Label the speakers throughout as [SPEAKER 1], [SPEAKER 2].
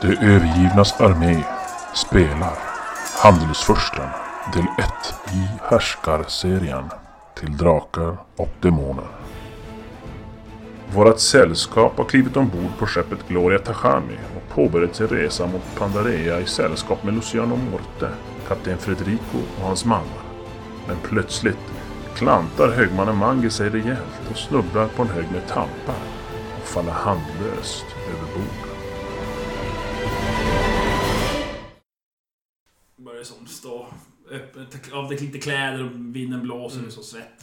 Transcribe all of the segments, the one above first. [SPEAKER 1] Det övergivnas armé spelar Handelsfursten del 1 i Härskarserien till Drakar och Demoner. Vårat sällskap har klivit ombord på skeppet Gloria Tachami och påbörjat sin resa mot Pandarea i sällskap med Luciano Morte, kapten Federico och hans mannar. Men plötsligt klantar högmannen Mangi sig rejält och snubblar på en hög med tampar och faller handlöst över bord.
[SPEAKER 2] Börjar som stå öppet, av det lite kläder och vinden blåser mm. så svett.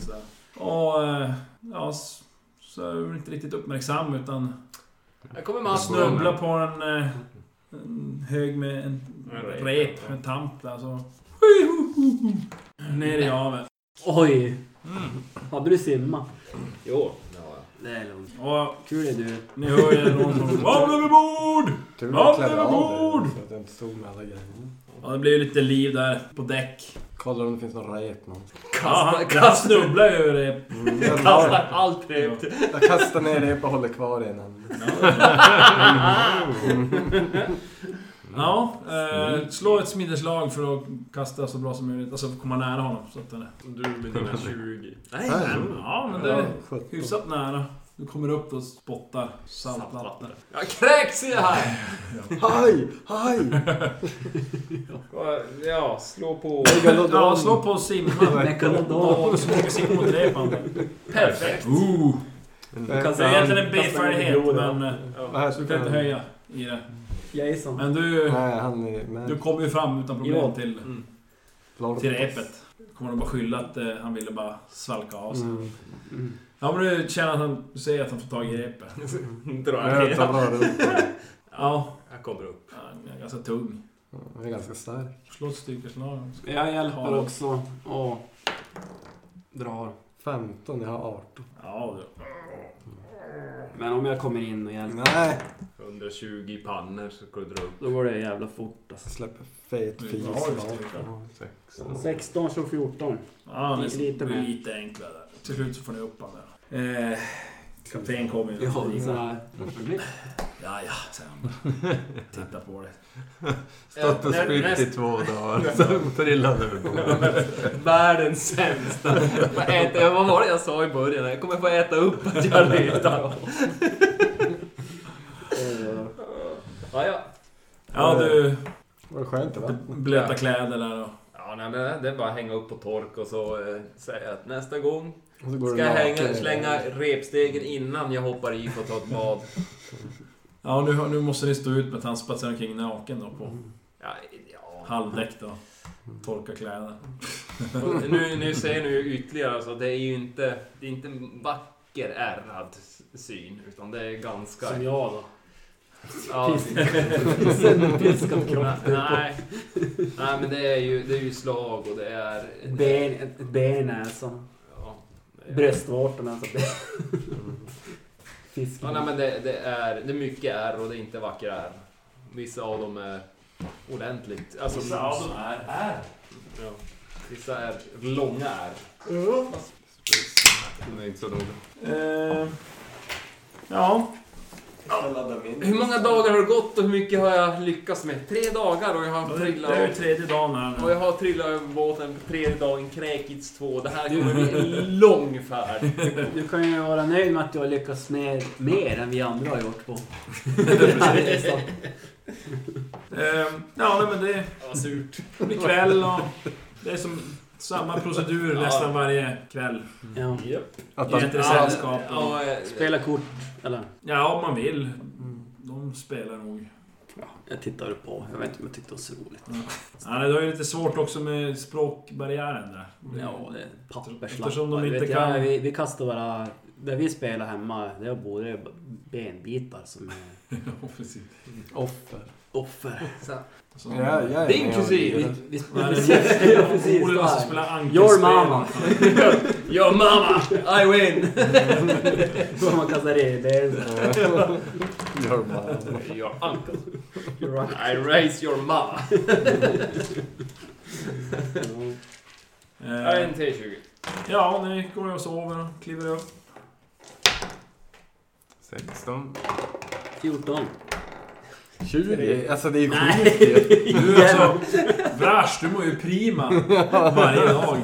[SPEAKER 2] Så. Och eh, ja, s- så är jag inte riktigt uppmärksam utan
[SPEAKER 3] Här kommer Mats nu.
[SPEAKER 2] snubblar på en, eh, en hög med en
[SPEAKER 4] En rep.
[SPEAKER 2] rep, en tamp där så... Ner i havet.
[SPEAKER 3] Oj! Mm. Hade du simmat?
[SPEAKER 4] Jo.
[SPEAKER 3] Det är lugnt.
[SPEAKER 2] Och
[SPEAKER 3] Kul är du.
[SPEAKER 2] ni hör ju någon som "Vabla överbord!
[SPEAKER 5] Tur
[SPEAKER 2] Ja,
[SPEAKER 5] att klädde av
[SPEAKER 2] överbord!
[SPEAKER 5] dig så att jag inte stod med alla grejerna.
[SPEAKER 2] Ja, det blir ju lite liv där på däck.
[SPEAKER 5] Kollar om det finns någon rep någonstans.
[SPEAKER 2] Ja, han, han snubblar ju över det.
[SPEAKER 5] Jag,
[SPEAKER 3] Kastar
[SPEAKER 5] jag,
[SPEAKER 3] allt rep.
[SPEAKER 5] jag kastar ner rep och håller kvar i den.
[SPEAKER 2] Ja, eh, slå ett smideslag för att kasta så bra som möjligt. Alltså för att komma nära honom. Så att, den är-
[SPEAKER 4] Du med dina 20.
[SPEAKER 3] Nej,
[SPEAKER 5] Nej.
[SPEAKER 3] nej.
[SPEAKER 2] ja, men det
[SPEAKER 5] Ja,
[SPEAKER 2] är
[SPEAKER 5] sjutton.
[SPEAKER 2] hyfsat nära. Du kommer upp och spottar saltvatten.
[SPEAKER 3] Jag kräks i det här!
[SPEAKER 5] Haj! Haj!
[SPEAKER 4] Ja, slå på...
[SPEAKER 5] Megalodon.
[SPEAKER 2] Ja, slå på simma.
[SPEAKER 3] Megalodon.
[SPEAKER 2] Och så mycket simma mot repan.
[SPEAKER 4] Perfekt!
[SPEAKER 2] Ooh. Det är Alltså, egentligen en
[SPEAKER 3] Kastar in i
[SPEAKER 2] B-färdighet,
[SPEAKER 3] blodet.
[SPEAKER 2] men... eh,
[SPEAKER 5] Eh, Vad här
[SPEAKER 2] Så du kan inte höja i det.
[SPEAKER 3] Jason.
[SPEAKER 2] Men du,
[SPEAKER 5] Nej, han är med.
[SPEAKER 2] du kommer ju fram utan problem
[SPEAKER 3] Ja.
[SPEAKER 2] till,
[SPEAKER 5] Lord
[SPEAKER 2] till
[SPEAKER 5] of Us.
[SPEAKER 2] repet. Kommer de bara skylla att eh, han ville bara svalka av sig.
[SPEAKER 5] Mm.
[SPEAKER 3] Mm.
[SPEAKER 2] Ja, men du känner att han... Du säger att han får tag i repet.
[SPEAKER 4] Mm. Dra
[SPEAKER 5] Jag
[SPEAKER 4] en
[SPEAKER 5] tar runt.
[SPEAKER 2] Ja,
[SPEAKER 4] Jag kommer upp.
[SPEAKER 2] han är ganska tung.
[SPEAKER 5] Jag är ganska stark.
[SPEAKER 2] Slå ett styrkeslag.
[SPEAKER 3] Jag hjälper
[SPEAKER 2] Ja.
[SPEAKER 3] också och drar.
[SPEAKER 5] 15, jag har 18.
[SPEAKER 2] Ja, du.
[SPEAKER 3] Men om jag kommer in och hjälper,
[SPEAKER 5] Nej!
[SPEAKER 4] 120 pannor så kan du dra upp.
[SPEAKER 3] då går det jävla fort alltså.
[SPEAKER 5] Jag släpper fet
[SPEAKER 2] Mm,
[SPEAKER 5] fis.
[SPEAKER 2] vad har du för styrka?
[SPEAKER 3] 16 slog 14.
[SPEAKER 2] Ja, ni
[SPEAKER 3] Lite
[SPEAKER 2] lite,
[SPEAKER 3] mer.
[SPEAKER 2] lite enklare där. Till slut så får ni upp honom där. Eh, kapten kommer ju.
[SPEAKER 3] Jag har så här.
[SPEAKER 2] Ja, ja, säger han. Titta på det.
[SPEAKER 4] Stått och spytt i
[SPEAKER 5] två dagar, sen trillade du
[SPEAKER 3] Världens sämsta. Vad äter- Vad var det jag sa i början? Jag kommer få äta upp att jag letar. Ja, ja.
[SPEAKER 2] Ja, du.
[SPEAKER 5] Var det skönt
[SPEAKER 2] du
[SPEAKER 5] i vattnet?
[SPEAKER 2] Blöta kläder där och...
[SPEAKER 4] Ja, nej, men det- det är bara att hänga upp på tork och så eh, säga att nästa gång
[SPEAKER 5] Och så går
[SPEAKER 4] ska
[SPEAKER 5] du
[SPEAKER 4] jag
[SPEAKER 5] naken
[SPEAKER 4] hänga,
[SPEAKER 5] i-
[SPEAKER 4] slänga repstegen innan jag hoppar i för att ta ett bad.
[SPEAKER 2] Ja, nu, nu måste ni stå ut med att han spatsar omkring naken då på
[SPEAKER 4] Ja, ja.
[SPEAKER 2] halvdäck då. Torka kläder.
[SPEAKER 4] Och Nu, nu ser ni ju ytterligare så det är ju inte, det är inte en vacker ärrad syn utan det är ganska...
[SPEAKER 3] Som jag då.
[SPEAKER 4] Ja.
[SPEAKER 3] Piskad kropp.
[SPEAKER 4] Nej. Nej, men det är ju, det är ju slag och det är...
[SPEAKER 3] Ben, ben alltså.
[SPEAKER 4] Ja, det är- Mm.
[SPEAKER 3] Bröstvårtorna alltså. Fisk.
[SPEAKER 4] Ja, nej, men det, det, är, det är mycket ärr och det är inte vackra ärr. Vissa av dem är ordentligt. Alltså,
[SPEAKER 2] är här.
[SPEAKER 4] Ja. Vissa är långa ärr. Det är inte så noga.
[SPEAKER 2] Eh, ja.
[SPEAKER 5] Jag laddar min.
[SPEAKER 4] Hur många dagar har det gått och hur mycket har jag lyckats med? Tre dagar och jag har
[SPEAKER 2] Det är ju
[SPEAKER 4] trillat...
[SPEAKER 2] tredje dagen här
[SPEAKER 4] Och jag
[SPEAKER 2] nu.
[SPEAKER 4] har trillat över båten på tredje dagen, kräkits två. Det här kommer bli en lång färd.
[SPEAKER 3] Du kan ju vara nöjd med att du har lyckats med mer än vi andra har gjort på den här resan.
[SPEAKER 2] Eh, ja, nej, men det...
[SPEAKER 4] Vad surt.
[SPEAKER 2] Det blir kväll och det är som samma procedur
[SPEAKER 4] Ja.
[SPEAKER 2] nästan varje kväll.
[SPEAKER 3] Ja.
[SPEAKER 5] Att
[SPEAKER 2] Det är
[SPEAKER 5] han,
[SPEAKER 2] inte sällskap.
[SPEAKER 4] Ja, ja,
[SPEAKER 3] Spela kort, eller?
[SPEAKER 2] Ja, om man vill. De spelar nog.
[SPEAKER 3] Ja, jag tittade på. Jag vet inte om jag tyckte det var så roligt.
[SPEAKER 2] Ja, det är ju lite svårt också med språkbarriären där.
[SPEAKER 3] Ja, det är
[SPEAKER 2] Mm. Eftersom de
[SPEAKER 3] papperslappar.
[SPEAKER 2] inte
[SPEAKER 3] Vet jag,
[SPEAKER 2] kan-
[SPEAKER 3] vi, vi kastar bara... Där vi spelar hemma, det är både benbitar som är
[SPEAKER 2] Ja, precis.
[SPEAKER 5] offer.
[SPEAKER 3] offer.
[SPEAKER 2] Så,
[SPEAKER 5] Ja, jag är
[SPEAKER 4] Din
[SPEAKER 5] med och
[SPEAKER 4] kusin.
[SPEAKER 5] ger.
[SPEAKER 3] Vi,
[SPEAKER 2] Nej,
[SPEAKER 3] vi,
[SPEAKER 2] det
[SPEAKER 3] vi, ja, precis.
[SPEAKER 2] Olle måste
[SPEAKER 3] där.
[SPEAKER 2] spela ankelspel.
[SPEAKER 3] Your mama.
[SPEAKER 4] Yo mama, I win!
[SPEAKER 3] Som man kastar i. Det är så.
[SPEAKER 5] Gör man.
[SPEAKER 4] Your uncle. I raise your mama. Jag är
[SPEAKER 2] Eh,
[SPEAKER 4] en T20.
[SPEAKER 2] ja, ni går och sover och kliver upp.
[SPEAKER 6] 16.
[SPEAKER 3] 14.
[SPEAKER 5] 20? Alltså det är ju sjukt ju.
[SPEAKER 2] Nej! Du alltså, Brash, du mår ju prima varje dag.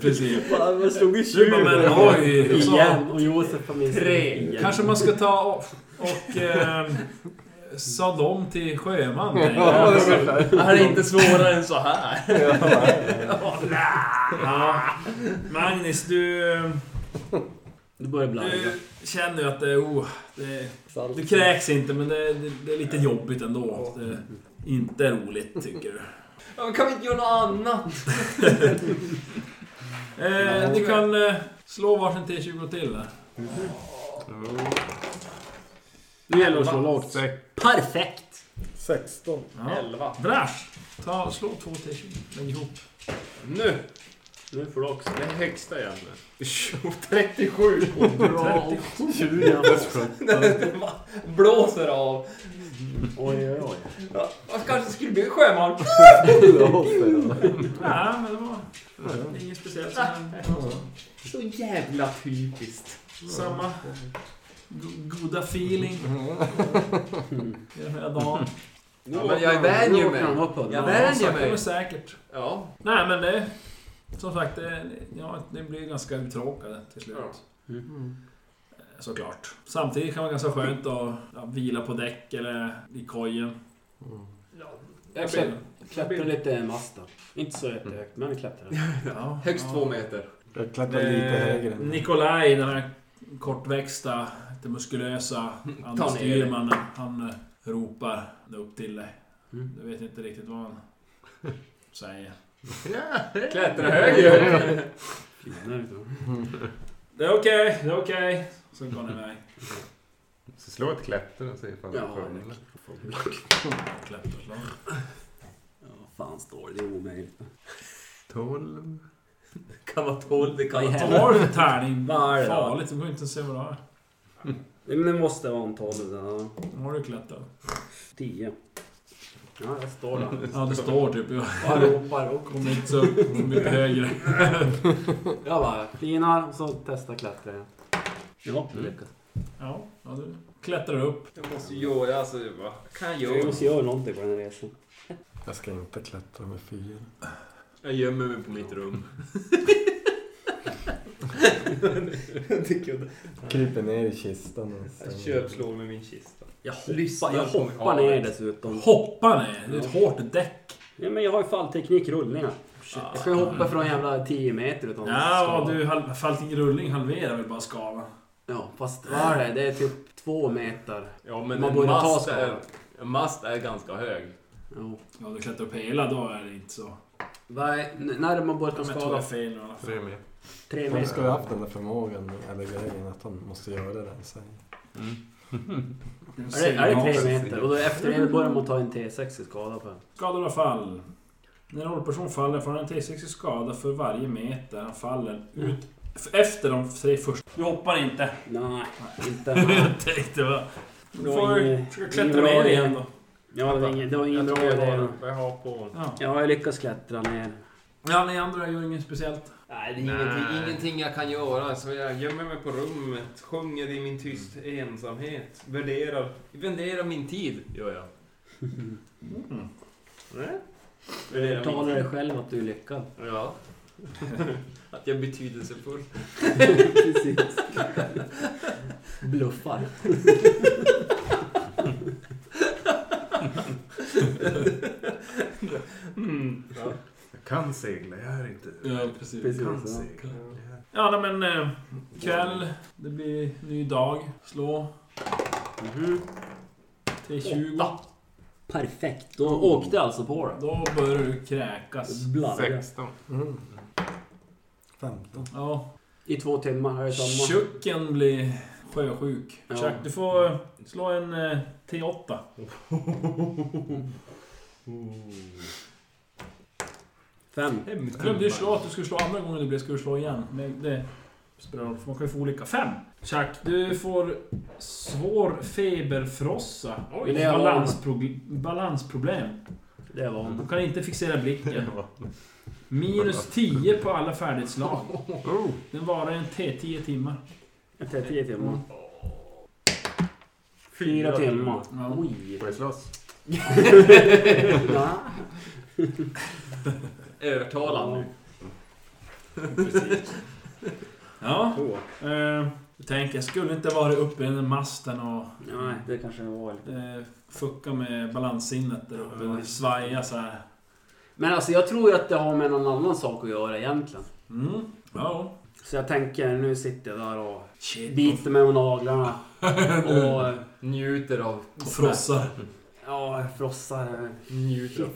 [SPEAKER 2] Precis.
[SPEAKER 3] Fan, vad slog i
[SPEAKER 2] Du bara, men oj.
[SPEAKER 3] Igen. Och Josef på min
[SPEAKER 7] Tre.
[SPEAKER 3] sida.
[SPEAKER 2] Kanske man ska ta och, och eh, sadla om till sjöman.
[SPEAKER 5] Ja, det är ungefär.
[SPEAKER 7] Det här är inte svårare än så här.
[SPEAKER 2] Ja. Magnus, du,
[SPEAKER 3] Du börjar blanda.
[SPEAKER 2] du känner ju att det, oh, det
[SPEAKER 3] Salt.
[SPEAKER 2] Du kräks inte, men det, det, det är lite jobbigt ändå. Det, är inte roligt, tycker du.
[SPEAKER 8] Ja, men kan vi inte göra något annat?
[SPEAKER 2] Eh, du kan eh, slå varsin T20 till där.
[SPEAKER 3] Nu gäller det att slå lågt. Perfekt!
[SPEAKER 5] 16.
[SPEAKER 2] Ja.
[SPEAKER 7] Elva.
[SPEAKER 2] Brash! Ta, slå två T20. Lägg ihop.
[SPEAKER 7] Nu! Nu får du också. Det är högsta igen. 37!
[SPEAKER 2] 37.
[SPEAKER 5] 20 plus 17.
[SPEAKER 8] Blåser av.
[SPEAKER 5] Oj, oj, oj.
[SPEAKER 8] Ja, jag kanske skulle bli sjöman.
[SPEAKER 2] Nej, men det var det är inget speciellt. men
[SPEAKER 8] Så jävla typiskt.
[SPEAKER 2] Samma go- goda feeling. I den här dagen.
[SPEAKER 8] Ja, men jag vänjer mig. Jag vänjer
[SPEAKER 2] Sakta men
[SPEAKER 8] mig.
[SPEAKER 2] säkert.
[SPEAKER 7] Ja.
[SPEAKER 2] Nej, men det... Som sagt, det, ja, ni blir ganska uttråkade till slut.
[SPEAKER 7] Ja.
[SPEAKER 2] Eh, Såklart. Samtidigt kan det vara ganska skönt att ja, vila på däck eller i kojen.
[SPEAKER 3] Jag klätt- klättrade lite mast då. Inte så jättehögt, men vi klättrade.
[SPEAKER 2] Ja,
[SPEAKER 7] Högst
[SPEAKER 2] ja.
[SPEAKER 7] två meter.
[SPEAKER 5] Jag klättrar lite högre.
[SPEAKER 2] Eh, Nikolaj, den här kortväxta, lite muskulösa andra
[SPEAKER 7] Ta ner dig.
[SPEAKER 2] styrmannen. Han eh, ropar upp till dig.
[SPEAKER 3] Mm.
[SPEAKER 2] Du vet inte riktigt vad han säger.
[SPEAKER 7] Klättra höger!
[SPEAKER 3] Fina ut då.
[SPEAKER 2] Det är okej, det är okej. Så går han iväg.
[SPEAKER 9] Så slå ett klätter och se ifall du
[SPEAKER 3] Ja,
[SPEAKER 9] får
[SPEAKER 2] Klätterslag.
[SPEAKER 3] Ja, fan står det? Det är omöjligt.
[SPEAKER 9] 12.
[SPEAKER 8] Kan vara tolv, det kan vara
[SPEAKER 2] Vad
[SPEAKER 8] tolv.
[SPEAKER 2] har du för tärning?
[SPEAKER 3] Vad är det då?
[SPEAKER 2] Farligt, det går inte ens att se vad du har.
[SPEAKER 3] Nej, Men det måste vara en 12. Ja.
[SPEAKER 2] Nu har du klättrat.
[SPEAKER 3] 10. Ja, jag står där.
[SPEAKER 2] Ja, det står typ. Jag
[SPEAKER 3] Jag ropar och
[SPEAKER 2] kommer inte så mycket högre.
[SPEAKER 3] jag bara flinar och så testar klättra igen. Mm. Ja, det lyckas.
[SPEAKER 2] Ja, ja du klättrar upp.
[SPEAKER 7] Jag måste göra alltså, vad kan jag
[SPEAKER 3] Vi
[SPEAKER 7] göra?
[SPEAKER 3] måste göra någonting på den här resan.
[SPEAKER 5] Jag ska inte klättra med fyra.
[SPEAKER 7] Jag gömmer mig på mitt rum.
[SPEAKER 5] Kryper ner i kistan och
[SPEAKER 7] Jag
[SPEAKER 5] stänger.
[SPEAKER 7] köpslår Alltså, med min kista.
[SPEAKER 3] Jag hoppar,
[SPEAKER 7] Lyssna
[SPEAKER 3] jag
[SPEAKER 7] på mig.
[SPEAKER 3] hoppar ner dessutom.
[SPEAKER 2] Hoppa ner! Det är ett hårt däck.
[SPEAKER 3] Ja, men jag har ju fallteknik i rullningar. Jag ska ju hoppa från jävla 10 meter utan
[SPEAKER 2] Ja,
[SPEAKER 3] skada.
[SPEAKER 2] du hal- fallit i rullning halverar väl bara skavan.
[SPEAKER 3] Ja, fast vad är det? Det är typ 2 meter.
[SPEAKER 7] Ja men
[SPEAKER 3] Man
[SPEAKER 7] en
[SPEAKER 3] borde ta
[SPEAKER 7] mast
[SPEAKER 3] skada.
[SPEAKER 7] är, en mast är ganska hög.
[SPEAKER 3] Jo.
[SPEAKER 2] Ja, om du klättrar upp hela, då är det inte så.
[SPEAKER 3] Vad är, n- när man börjar ta
[SPEAKER 2] Ja, men jag tror det är
[SPEAKER 3] skada?
[SPEAKER 2] fel i alla fall.
[SPEAKER 9] Tre meter.
[SPEAKER 3] 3
[SPEAKER 5] Han ska
[SPEAKER 3] meter.
[SPEAKER 5] ju haft den där förmågan, eller grejen, att han måste göra det han säger.
[SPEAKER 3] Är det, är det 3 meter? Och då efter det börjar man ta en T6 i skada på den.
[SPEAKER 2] Skador och fall. När en rollperson faller får han en T6 i skada för varje meter han faller ut f- efter de tre första. Du hoppar inte.
[SPEAKER 3] Nej, inte.
[SPEAKER 2] Jag tänkte va. Du
[SPEAKER 3] Det var
[SPEAKER 2] får
[SPEAKER 3] ingen-
[SPEAKER 2] försöka
[SPEAKER 3] ingen
[SPEAKER 2] klättra
[SPEAKER 3] bra
[SPEAKER 2] ner
[SPEAKER 3] idé.
[SPEAKER 2] igen då.
[SPEAKER 3] Ja, det var ingen, det var ingen
[SPEAKER 7] Jag
[SPEAKER 3] bra
[SPEAKER 7] tror jag
[SPEAKER 3] idé.
[SPEAKER 7] har, jag har på
[SPEAKER 2] Ja.
[SPEAKER 3] Jag har ju lyckats klättra ner.
[SPEAKER 2] ja, ni andra gör inget speciellt.
[SPEAKER 8] Nej, det är
[SPEAKER 7] Ingenting,
[SPEAKER 8] ingenting.
[SPEAKER 7] ingenting jag kan göra, så jag gömmer mig på rummet, sjunger i min tyst ensamhet, värderar, värderar min tid, gör jag.
[SPEAKER 2] Mm.
[SPEAKER 7] Nej?
[SPEAKER 3] Du
[SPEAKER 7] Värderar
[SPEAKER 3] talar
[SPEAKER 7] min
[SPEAKER 3] dig
[SPEAKER 7] tid.
[SPEAKER 3] själv att du är lyckad.
[SPEAKER 7] Ja. Att jag är betydelsefull.
[SPEAKER 3] Precis. Bluffar.
[SPEAKER 9] Jag kan segla, jag är inte...
[SPEAKER 2] Ja, precis.
[SPEAKER 9] Jag kan
[SPEAKER 3] Precis.
[SPEAKER 9] segla.
[SPEAKER 2] Ja, nej, men eh, kväll. Det blir ny dag. Slå
[SPEAKER 3] Mhm.
[SPEAKER 2] T20.
[SPEAKER 3] Perfekt. Då åkte jag alltså på det.
[SPEAKER 2] Då börjar du kräkas.
[SPEAKER 3] Blarra.
[SPEAKER 9] 16.
[SPEAKER 5] Mm. 15.
[SPEAKER 2] Ja.
[SPEAKER 3] I två timmar har jag samma.
[SPEAKER 2] Tjucken blir sjösjuk.
[SPEAKER 3] Ja.
[SPEAKER 2] Chuck, du får eh, slå en eh, T8.
[SPEAKER 3] Fem.
[SPEAKER 2] Glömde ju slå att du skulle slå andra gången du blev. Ska du slå igen? Men det spelar roll, för man kan ju få olika. Fem! Chuck, du får svår feberfrossa.
[SPEAKER 3] Vill jag ha en?
[SPEAKER 2] Balansprog- balansproblem.
[SPEAKER 3] Det var hon.
[SPEAKER 2] Du kan inte fixera blicken. Minus 10 på alla färdighetslag. Den varar en T10 timmar.
[SPEAKER 3] Jag tar tio timmar. Fyra timmar.
[SPEAKER 2] Ja.
[SPEAKER 3] Oj.
[SPEAKER 9] Får jag slåss?
[SPEAKER 3] Ja.
[SPEAKER 7] Övertala nu.
[SPEAKER 2] Precis. Ja,
[SPEAKER 5] Två.
[SPEAKER 2] eh, jag tänker jag skulle inte varit uppe i den masten och
[SPEAKER 3] Nej, det kanske var lite...
[SPEAKER 2] eh, fucka med balanssinnet där uppe.
[SPEAKER 3] Ja.
[SPEAKER 2] Svaja så här.
[SPEAKER 3] Men alltså jag tror ju att det har med någon annan sak att göra egentligen.
[SPEAKER 2] Mm. Ja.
[SPEAKER 3] Så jag tänker, nu sitter jag där och
[SPEAKER 2] Shit.
[SPEAKER 3] biter mig på naglarna. Och
[SPEAKER 7] Njuter av...
[SPEAKER 2] Och frossar.
[SPEAKER 3] ja, jag frossar.
[SPEAKER 7] Njuter av...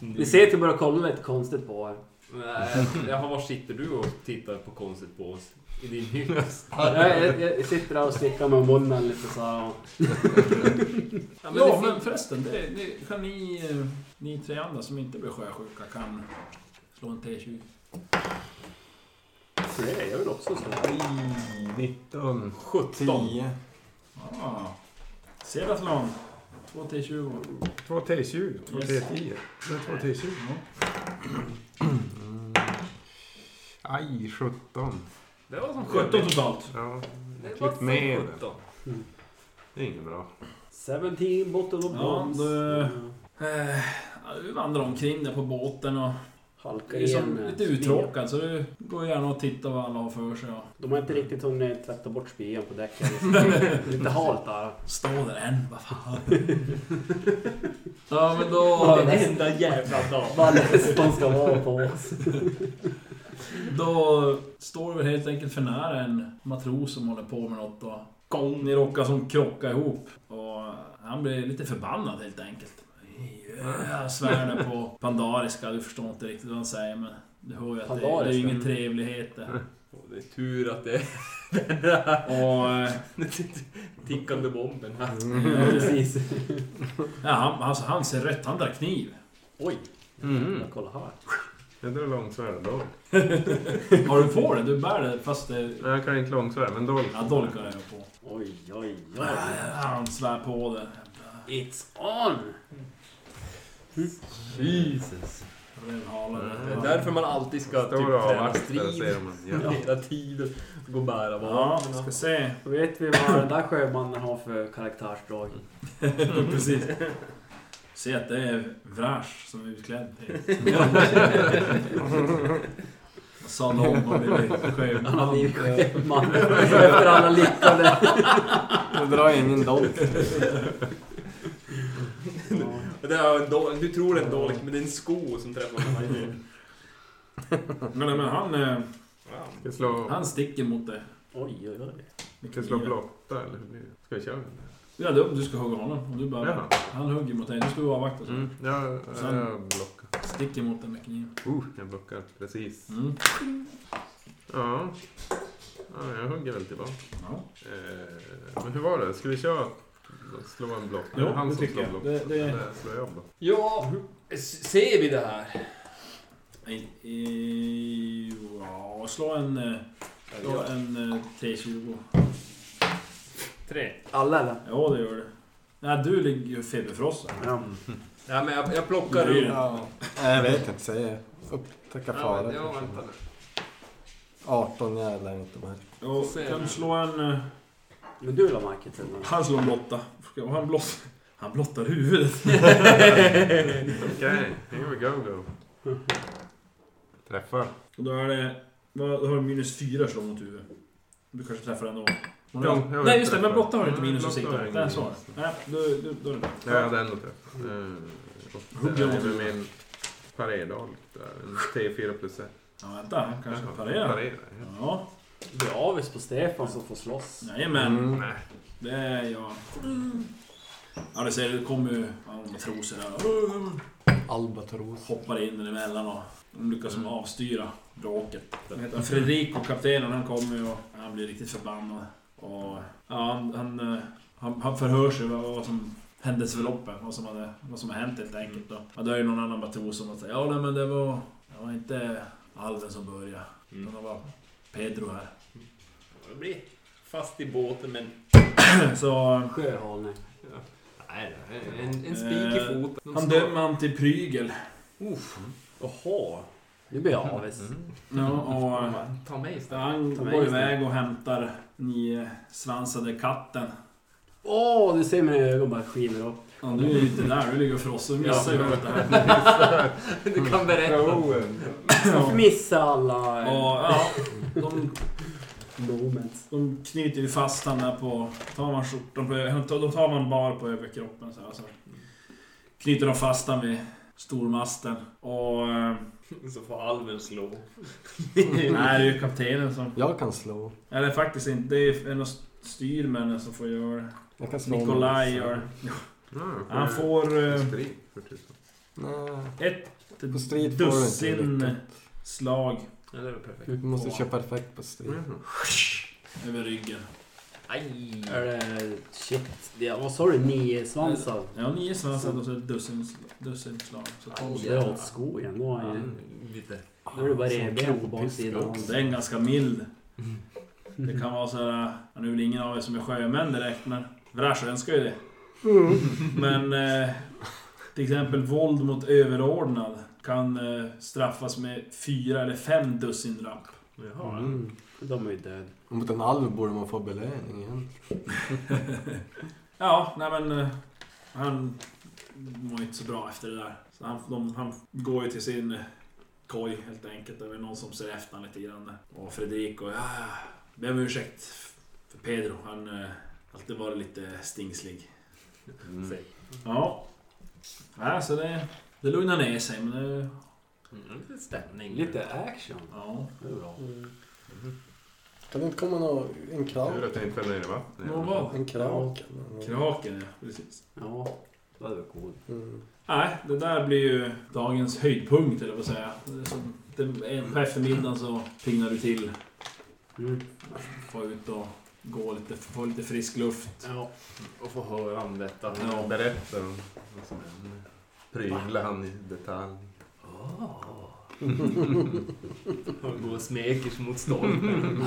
[SPEAKER 3] Ni ser att jag börjar kolla lite konstigt på er.
[SPEAKER 7] Nej, Jaha, var sitter du och tittar på konstigt på oss? I din hylla?
[SPEAKER 3] Jag, jag, jag sitter där och slickar med munnen lite så här. och-
[SPEAKER 2] Ja,
[SPEAKER 7] men det
[SPEAKER 2] men,
[SPEAKER 7] fin-
[SPEAKER 2] förresten, det, det, kan ni, eh, ni tre andra som inte blir sjösjuka kan slå en T20?
[SPEAKER 3] Så det är jag väl också så.
[SPEAKER 9] 19.
[SPEAKER 2] 17. Ah. Serathlon. Två T20.
[SPEAKER 9] 2 T20. 2
[SPEAKER 2] Yes.
[SPEAKER 9] T10. Det är 2 T20.
[SPEAKER 2] Ja.
[SPEAKER 9] Mm. Aj, 17.
[SPEAKER 7] Det var som
[SPEAKER 2] 17 totalt.
[SPEAKER 9] Ja,
[SPEAKER 7] Det var
[SPEAKER 9] klipp ner
[SPEAKER 7] som
[SPEAKER 9] det.
[SPEAKER 7] 17.
[SPEAKER 9] Det är inget bra.
[SPEAKER 3] 17 bottle of
[SPEAKER 2] Ja,
[SPEAKER 3] bombs.
[SPEAKER 2] det- Eh, ja, du vandrar omkring där på båten och
[SPEAKER 3] Halkar
[SPEAKER 2] är liksom
[SPEAKER 3] igen. eh,
[SPEAKER 2] lite uttråkad så du går gärna och tittar vad alla har för sig. Och
[SPEAKER 3] De har inte riktigt hunnit tvätta bort spyan på däcken. lite halt där.
[SPEAKER 2] stå där än, vad fan. ja, men
[SPEAKER 3] Ja,
[SPEAKER 2] då,
[SPEAKER 3] Varenda jävla dag. Vad less de ska vara på oss.
[SPEAKER 2] då står du väl helt enkelt för nära en matros som håller på med något och gong, ni råkar som krocka ihop. Och han blir lite förbannad helt enkelt. Jag svär det på pandariska, du förstår inte riktigt vad han säger men du hör ju att det, det är ju ingen
[SPEAKER 3] Pandariska?
[SPEAKER 2] trevlighet det.
[SPEAKER 7] Och Det är tur att det är
[SPEAKER 2] Och... eh,
[SPEAKER 7] tickande bomben här.
[SPEAKER 3] Ja, precis.
[SPEAKER 2] Ja, han, alltså, han ser rätt, han drar kniv.
[SPEAKER 3] Oj.
[SPEAKER 9] Mm.
[SPEAKER 3] Jag kollar här.
[SPEAKER 9] Jag drar långsvärd dolk.
[SPEAKER 2] Har du på det? Du bär det fast det...
[SPEAKER 9] Nej, jag kan inte långsvärd, men dolk.
[SPEAKER 2] Ja, dolkar jag på.
[SPEAKER 3] Oj, oj,
[SPEAKER 2] Ja,
[SPEAKER 3] oj.
[SPEAKER 2] Han svär på det.
[SPEAKER 3] It's on!
[SPEAKER 7] Jesus.
[SPEAKER 2] Rövhalare.
[SPEAKER 7] Det är därför man alltid ska typ
[SPEAKER 9] Står och
[SPEAKER 7] träna
[SPEAKER 9] avvaktar och
[SPEAKER 7] strid
[SPEAKER 9] ser om man... Ja.
[SPEAKER 7] hela tiden. Gå och bära
[SPEAKER 2] Ja,
[SPEAKER 7] vapen.
[SPEAKER 2] ska se.
[SPEAKER 3] Vet vi vad den där sjömannen har för karaktärsdrag?
[SPEAKER 2] Precis. Se att det är Vrash som är utklädd till. Vad sa någon? Vad blev det?
[SPEAKER 3] Han har blivit
[SPEAKER 2] Sjöman.
[SPEAKER 3] sjöman efter alla lyckade.
[SPEAKER 5] Jag drar ingen dolk.
[SPEAKER 7] Det är en dolk, du tror det är en dolk, men det är en sko som träffar honom.
[SPEAKER 2] Men, men han, eh,
[SPEAKER 9] Ska slå...
[SPEAKER 2] han sticker mot dig.
[SPEAKER 3] Oj, oj, oj.
[SPEAKER 2] Med
[SPEAKER 9] Ska slå
[SPEAKER 2] kniven.
[SPEAKER 9] blotta eller? hur blir det? Ska jag köra den?
[SPEAKER 2] Ja, du, du ska hugga honom. Om Du bara,
[SPEAKER 9] Jaha.
[SPEAKER 2] han hugger mot dig. Du ska avvakta. Så.
[SPEAKER 9] Mm. Ja,
[SPEAKER 2] Sen-
[SPEAKER 9] jag blockar.
[SPEAKER 2] Sticker mot dig med kniven.
[SPEAKER 9] Uh, jag blockar precis.
[SPEAKER 2] Mm.
[SPEAKER 9] Ja. ja, jag hugger väl tillbaka.
[SPEAKER 2] Ja.
[SPEAKER 9] Eh, men hur var det? Ska vi köra slå en block?
[SPEAKER 2] Jo,
[SPEAKER 9] Är det han
[SPEAKER 2] det
[SPEAKER 9] som
[SPEAKER 2] tycker
[SPEAKER 9] slår
[SPEAKER 2] jag.
[SPEAKER 9] block?
[SPEAKER 2] Det- det-
[SPEAKER 9] Eller slår jag block?
[SPEAKER 7] Ja, s- ser vi det här?
[SPEAKER 2] Nej, eh, Ja, slå en... eh, Slå en eh, T20.
[SPEAKER 7] Tre.
[SPEAKER 3] Alla eller?
[SPEAKER 2] Ja, det gör det. Nej, du ligger ju feberfrossa.
[SPEAKER 3] Ja.
[SPEAKER 7] Ja, men jag, jag plockar
[SPEAKER 2] Det är
[SPEAKER 7] upp...
[SPEAKER 2] ju-
[SPEAKER 5] Ja. Nej, jag vet inte. Säg upptäcka
[SPEAKER 7] Ja,
[SPEAKER 5] fara.
[SPEAKER 7] men- ja, vänta nu.
[SPEAKER 5] 18 jävlar inte med.
[SPEAKER 2] Ja, kan du slå en... eh,
[SPEAKER 3] Men du la märke till den.
[SPEAKER 2] Han slår en blotta. Och han blott... Han blottar huvudet.
[SPEAKER 9] Okej, here we go go. Träffar.
[SPEAKER 2] Och då är det... vad- Då har du minus fyra slå mot huvudet. Du kanske träffar ändå. Hon
[SPEAKER 9] Jo,
[SPEAKER 2] har-
[SPEAKER 9] jag vet
[SPEAKER 2] Nej, just det.
[SPEAKER 9] träffar.
[SPEAKER 2] Men blotta har du inte
[SPEAKER 9] Mm,
[SPEAKER 2] minus att
[SPEAKER 9] blotta har
[SPEAKER 2] sikta.
[SPEAKER 9] jag
[SPEAKER 2] på.
[SPEAKER 9] ingen
[SPEAKER 2] Den
[SPEAKER 9] minus.
[SPEAKER 2] sa du. Nej, du, du, då är det bra.
[SPEAKER 9] Jag hade ändå träffat. Mm. Och det
[SPEAKER 2] Hugger
[SPEAKER 9] är
[SPEAKER 2] mot-
[SPEAKER 9] väl min parerdolk där. En T4 plus 1.
[SPEAKER 2] Ja, vänta. Han kanske parerar. Ja.
[SPEAKER 3] Du är avis på Stefan som får slåss.
[SPEAKER 2] Jajamän.
[SPEAKER 9] Nej.
[SPEAKER 2] Det är jag. Ja, du ser, det kommer ju albatroser här
[SPEAKER 9] Mm.
[SPEAKER 2] och
[SPEAKER 5] Albatros.
[SPEAKER 2] hoppar in emellan och de lyckas som avstyra bråket. Mm. Den heter Fredrico, kaptenen, han kommer ju och han blir riktigt förbannad. Och ja, han, han, eh, han, han förhör sig vad, vad som händelseförloppet, vad som, hade, vad som har hänt helt enkelt. Och, ja, det är ju någon annan matros som säger ja, nej, men det var, det var inte alven som började. Utan det var Pedro här.
[SPEAKER 7] Jag blir fast i båten, men...
[SPEAKER 2] Mm. Så
[SPEAKER 3] Sjöhane.
[SPEAKER 7] Nej, nej, en, en spik i
[SPEAKER 2] Eh,
[SPEAKER 7] foten.
[SPEAKER 2] han dömer han till prygel.
[SPEAKER 3] Jaha. Mm. Nu blir jag avis.
[SPEAKER 2] Ja, och,
[SPEAKER 7] Ta mig istället.
[SPEAKER 2] Han
[SPEAKER 3] Ta
[SPEAKER 2] går
[SPEAKER 3] mig istället.
[SPEAKER 2] iväg och hämtar nio svansade katten.
[SPEAKER 3] Åh, du ser mina ögon bara skiner upp.
[SPEAKER 2] Ja, du är ju inte där, du ligger och frossar. Du missar ju allt det här.
[SPEAKER 8] Du kan berätta.
[SPEAKER 3] Varför missar alla eh,
[SPEAKER 2] Och, ja, de,
[SPEAKER 3] moments?
[SPEAKER 2] de knyter ju fast han där på... Tar man skjortan på... ö- Då tar man bar på överkroppen så här. Så knyter de fast han vid stormasten. Och... eh,
[SPEAKER 7] Så får alven slå.
[SPEAKER 2] Nej, det är ju kaptenen som...
[SPEAKER 5] Jag kan slå.
[SPEAKER 2] Eller faktiskt inte. Det är en av styrmännen som får göra det.
[SPEAKER 5] Jag kan slå. om-
[SPEAKER 2] Nikolaj gör
[SPEAKER 7] Mm.
[SPEAKER 9] Ja,
[SPEAKER 2] Han får... eh,
[SPEAKER 9] Strid för tusan.
[SPEAKER 5] Nej,
[SPEAKER 2] Ett
[SPEAKER 5] På strid får du inte
[SPEAKER 2] dussin
[SPEAKER 5] lycka.
[SPEAKER 2] slag
[SPEAKER 7] Ja, det är väl perfekt.
[SPEAKER 5] du måste
[SPEAKER 2] Åh.
[SPEAKER 5] köpa perfekt på strid.
[SPEAKER 9] Jaha.
[SPEAKER 2] över ryggen.
[SPEAKER 7] Aj!
[SPEAKER 3] Är det... Shit. Det- Vad sa du? Nio svansar?
[SPEAKER 2] Ja, nio svansar och så ett dussin, dussin slag. Så tolv.
[SPEAKER 3] Det är åt skogen. Då är det-
[SPEAKER 7] Mm, Lite.
[SPEAKER 3] då är det bara
[SPEAKER 5] Som
[SPEAKER 3] revben på
[SPEAKER 5] krokpiska
[SPEAKER 3] baksidan.
[SPEAKER 5] också.
[SPEAKER 2] Det är en ganska mild.
[SPEAKER 3] Mm.
[SPEAKER 2] Det kan vara så här... ja, Nu är väl ingen av er som är sjömän direkt, men Vrash önskar ju det. Men eh, till exempel våld mot överordnad kan eh, straffas med fyra eller fem dussin rapp.
[SPEAKER 7] Jaha.
[SPEAKER 5] Mm.
[SPEAKER 3] De är ju död.
[SPEAKER 5] Och Mot en alv borde man få belöning igen.
[SPEAKER 2] Ja, nej men... eh, Han mår inte så bra efter det där. Så han, de, han går ju till sin eh, koj helt enkelt. Det är väl någon som ser efter honom lite grann. där. Och Fredrik och... Ja, ber om ursäkt för Pedro. Han eh, alltid varit lite stingslig.
[SPEAKER 7] Mm.
[SPEAKER 2] Ja. ja så det, det lugnar ner sig men det...
[SPEAKER 7] Mm, lite stämning.
[SPEAKER 3] Lite action.
[SPEAKER 2] Ja.
[SPEAKER 3] Det är bra.
[SPEAKER 5] Kan det inte komma någon, en
[SPEAKER 9] Tur
[SPEAKER 5] kran?
[SPEAKER 9] att jag inte fäller ner i vattnet.
[SPEAKER 2] Nå, vad?
[SPEAKER 5] En krak? Mm.
[SPEAKER 2] Kraken ja, precis.
[SPEAKER 3] Ja, det hade varit coolt.
[SPEAKER 5] Mm.
[SPEAKER 2] Nej, det där blir ju dagens höjdpunkt eller vad säga. Det är som- det- På eftermiddagen så pignar du till.
[SPEAKER 3] Mm.
[SPEAKER 2] Få ut och gå lite, få lite frisk luft.
[SPEAKER 3] Ja.
[SPEAKER 7] Och få höra om detta.
[SPEAKER 2] Ja.
[SPEAKER 9] Berätta om vad som hände. Prygla han i detalj.
[SPEAKER 7] Åh. Och gå och smekers mot stolpen.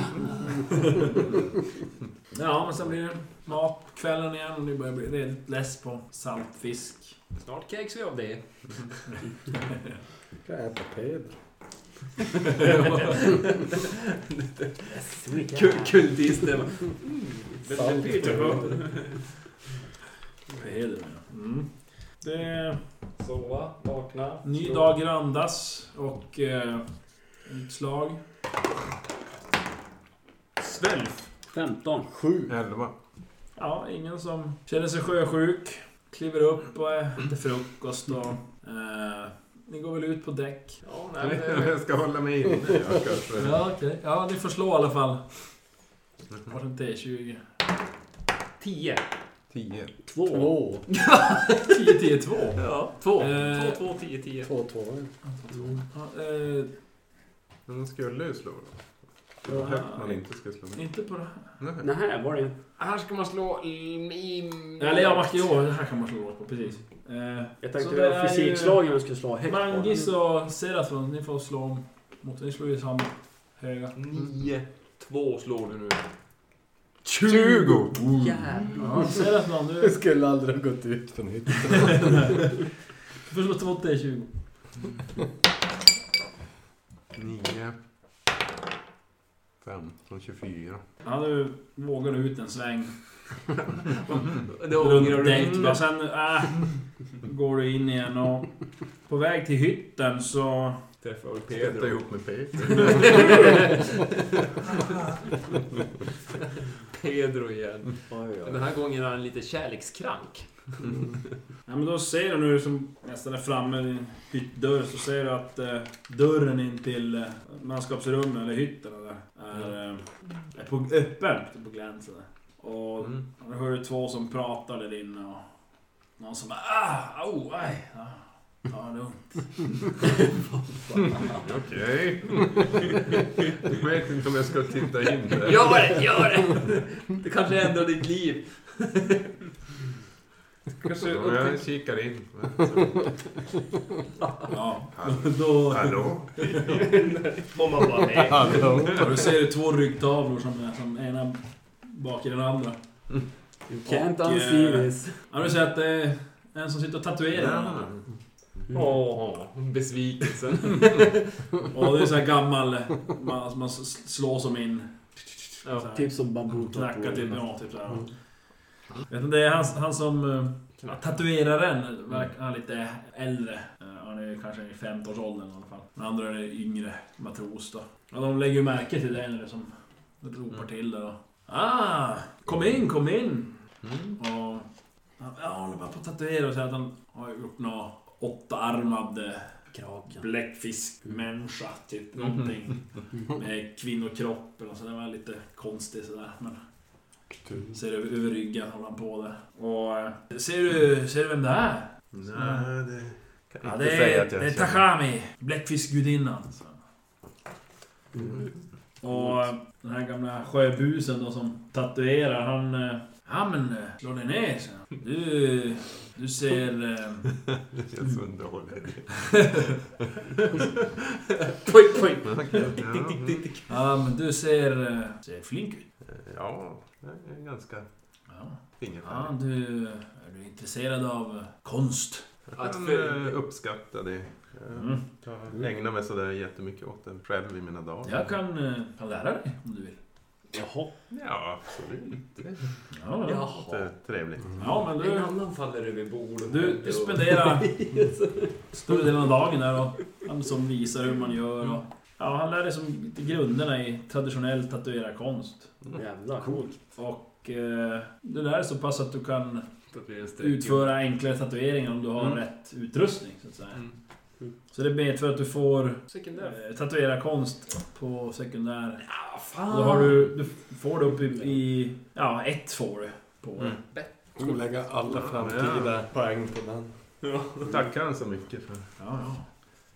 [SPEAKER 2] Ja, men sen blir det mat på kvällen igen och ni börjar bli redigt less på saltfisk.
[SPEAKER 7] Snart kräks vi av det.
[SPEAKER 5] Kan jag äta Pedro?
[SPEAKER 7] Kul- Kultisten.
[SPEAKER 5] Salt.
[SPEAKER 2] Heder med. Mm. Det
[SPEAKER 7] Sova, vakna.
[SPEAKER 2] ny dag grandas och eh, ett slag.
[SPEAKER 7] Svälf.
[SPEAKER 3] 15.
[SPEAKER 5] Sju.
[SPEAKER 9] Elva.
[SPEAKER 2] Ja, ingen som känner sig sjösjuk. Kliver upp och äter frukost och... Eh, ni går väl ut på däck?
[SPEAKER 7] Ja, nej, men
[SPEAKER 5] eh,
[SPEAKER 7] det-
[SPEAKER 9] Jag ska hålla mig inne jag kanske.
[SPEAKER 2] Ja, okej. Ja, ni får slå i alla fall. Varsin T20.
[SPEAKER 7] Tio.
[SPEAKER 9] Tio.
[SPEAKER 3] Två.
[SPEAKER 5] Två.
[SPEAKER 2] 10, 10, 2.
[SPEAKER 7] Ja, två.
[SPEAKER 2] Eh.
[SPEAKER 7] Två, två, tio, tio.
[SPEAKER 5] Två tvåor.
[SPEAKER 2] Ja, eh,
[SPEAKER 9] Men de skulle ju slå. Det var högt man inte skulle slå.
[SPEAKER 2] inte på det här.
[SPEAKER 9] Nej.
[SPEAKER 3] Nej, var det
[SPEAKER 7] Här ska man slå i... i-
[SPEAKER 2] Eller ja, man, jo, det här kan man slå låt på, precis. Eh,
[SPEAKER 3] Jag tänkte
[SPEAKER 2] Så
[SPEAKER 3] det
[SPEAKER 2] det är
[SPEAKER 3] var
[SPEAKER 2] ju-
[SPEAKER 3] fysikslagen jag skulle slå högt på.
[SPEAKER 2] Mangis och Serafon, ni får slå om. Mot, ni slår ju samma höga.
[SPEAKER 7] Nio. Två slår du nu.
[SPEAKER 5] Tjugo!
[SPEAKER 2] Ja, Serafon,
[SPEAKER 5] Det
[SPEAKER 2] du
[SPEAKER 5] skulle aldrig ha gått ut för nytt.
[SPEAKER 2] du får slå två T20.
[SPEAKER 9] Nio. Femton, tjugofyra.
[SPEAKER 2] Ja, du vågar ut en sväng.
[SPEAKER 7] Det ångrar
[SPEAKER 2] Runt
[SPEAKER 7] du.
[SPEAKER 2] däck.
[SPEAKER 7] Mm.
[SPEAKER 2] Men sen äh, går du in igen och på väg till hytten så...
[SPEAKER 7] Träffar
[SPEAKER 9] Sätta
[SPEAKER 7] Pedro.
[SPEAKER 9] ihop med Peter.
[SPEAKER 7] Pedro igen.
[SPEAKER 3] Oj,
[SPEAKER 7] Den
[SPEAKER 3] oj.
[SPEAKER 7] här gången är han lite kärlekskrank.
[SPEAKER 2] Ja, men då ser du nu som nästan är framme vid hyttdörren så ser du att eh, dörren in till eh, manskapsrummet eller hytten eller, är, eh, är på, öppen på glänsen. Och
[SPEAKER 9] Mm.
[SPEAKER 2] Och Då hör du två som pratar där inne och någon som bara ah, oh, aj, ja, ja, det är ont.
[SPEAKER 9] Okej. Jag vet inte om jag ska titta in där.
[SPEAKER 7] Gör det, gör det! Det kanske ändrar ditt liv.
[SPEAKER 9] Kanske om jag kikar in.
[SPEAKER 2] Ja, då,
[SPEAKER 9] Hallå?
[SPEAKER 7] Mamma bara nej.
[SPEAKER 2] då, då ser du två ryggtavlor som är som ena bak i den andra.
[SPEAKER 3] You can't
[SPEAKER 2] Och, eh,
[SPEAKER 3] unsee this.
[SPEAKER 2] Ja, du ser att det är en som sitter och tatuerar.
[SPEAKER 7] Åh, besvikelsen.
[SPEAKER 2] Och det är så här gammal, man, man slår som in. Så här,
[SPEAKER 3] Typ som bambu
[SPEAKER 2] knackar till, ja, typ så här. Vet du, det är han, han som... eh, Tatueraren verkar han är lite äldre. Eh, Han är kanske i 15-årsåldern i alla fall. Den andra är yngre matros då. Ja, de lägger ju märke till det när det som ropar till där då. Ah! Kom in, kom in!
[SPEAKER 8] Mm.
[SPEAKER 2] Och han ja, han håller bara på att tatuera och säger att han har gjort någon åttaarmad eh,
[SPEAKER 3] Kraken.
[SPEAKER 2] bläckfiskmänniska, typ någonting. Med kvinnokroppen och så den var lite konstig sådär. Men ser över, över ryggen håller han på det. Och eh, ser du, ser du vem det är? Nej,
[SPEAKER 9] det...
[SPEAKER 2] Kan ja, det är, det är Takami, bläckfiskgudinnan. så. Och eh, den här gamla sjöbusen då som tatuerar, han... eh, Ja men, eh, slå dig ner så. Du, du ser... eh,
[SPEAKER 9] Det känns så dåligt.
[SPEAKER 8] Pojk, pojk.
[SPEAKER 2] Ja men du ser, eh, ser flink ut.
[SPEAKER 9] Ja, jag är ganska
[SPEAKER 2] Ja. Ja,
[SPEAKER 9] fingerfärdig.
[SPEAKER 2] du, eh, är du intresserad av eh, konst?
[SPEAKER 9] Att
[SPEAKER 8] Att
[SPEAKER 9] för...
[SPEAKER 8] för-
[SPEAKER 9] eh, uppskatta det.
[SPEAKER 2] Mm.
[SPEAKER 9] Jag ägnar mig sådär jättemycket åt den själv i mina dagar.
[SPEAKER 2] Jag kan, eh, kan lära dig om du vill.
[SPEAKER 3] Jaha.
[SPEAKER 9] Ja, absolut. Det
[SPEAKER 2] Ja, ja.
[SPEAKER 8] Jaha.
[SPEAKER 9] är trevligt.
[SPEAKER 2] ja men
[SPEAKER 8] En
[SPEAKER 2] du,
[SPEAKER 8] annan faller över bord. och-
[SPEAKER 2] du, du spenderar större delen av dagen där och han som visar hur man gör. Och, ja, han lär dig som lite grunderna i traditionell tatuerarkonst.
[SPEAKER 3] Jävlar. Coolt.
[SPEAKER 2] Och eh, det där är så pass att du kan
[SPEAKER 7] Tatuera en streck.
[SPEAKER 2] utföra enklare tatueringar om du har
[SPEAKER 7] Mm.
[SPEAKER 2] rätt utrustning. Så, att säga.
[SPEAKER 7] Mm.
[SPEAKER 2] så det medför att du får
[SPEAKER 8] Sekundär.
[SPEAKER 2] eh, tatuerarkonst på sekundär
[SPEAKER 8] Ah,
[SPEAKER 2] Och
[SPEAKER 8] fan.
[SPEAKER 2] Då har du, du får det upp i, i... Ja, ett får du. På.
[SPEAKER 9] Mm.
[SPEAKER 5] Kommer lägga alla framtida poäng på den.
[SPEAKER 9] Tackar han så mycket för.
[SPEAKER 2] Ja, ja.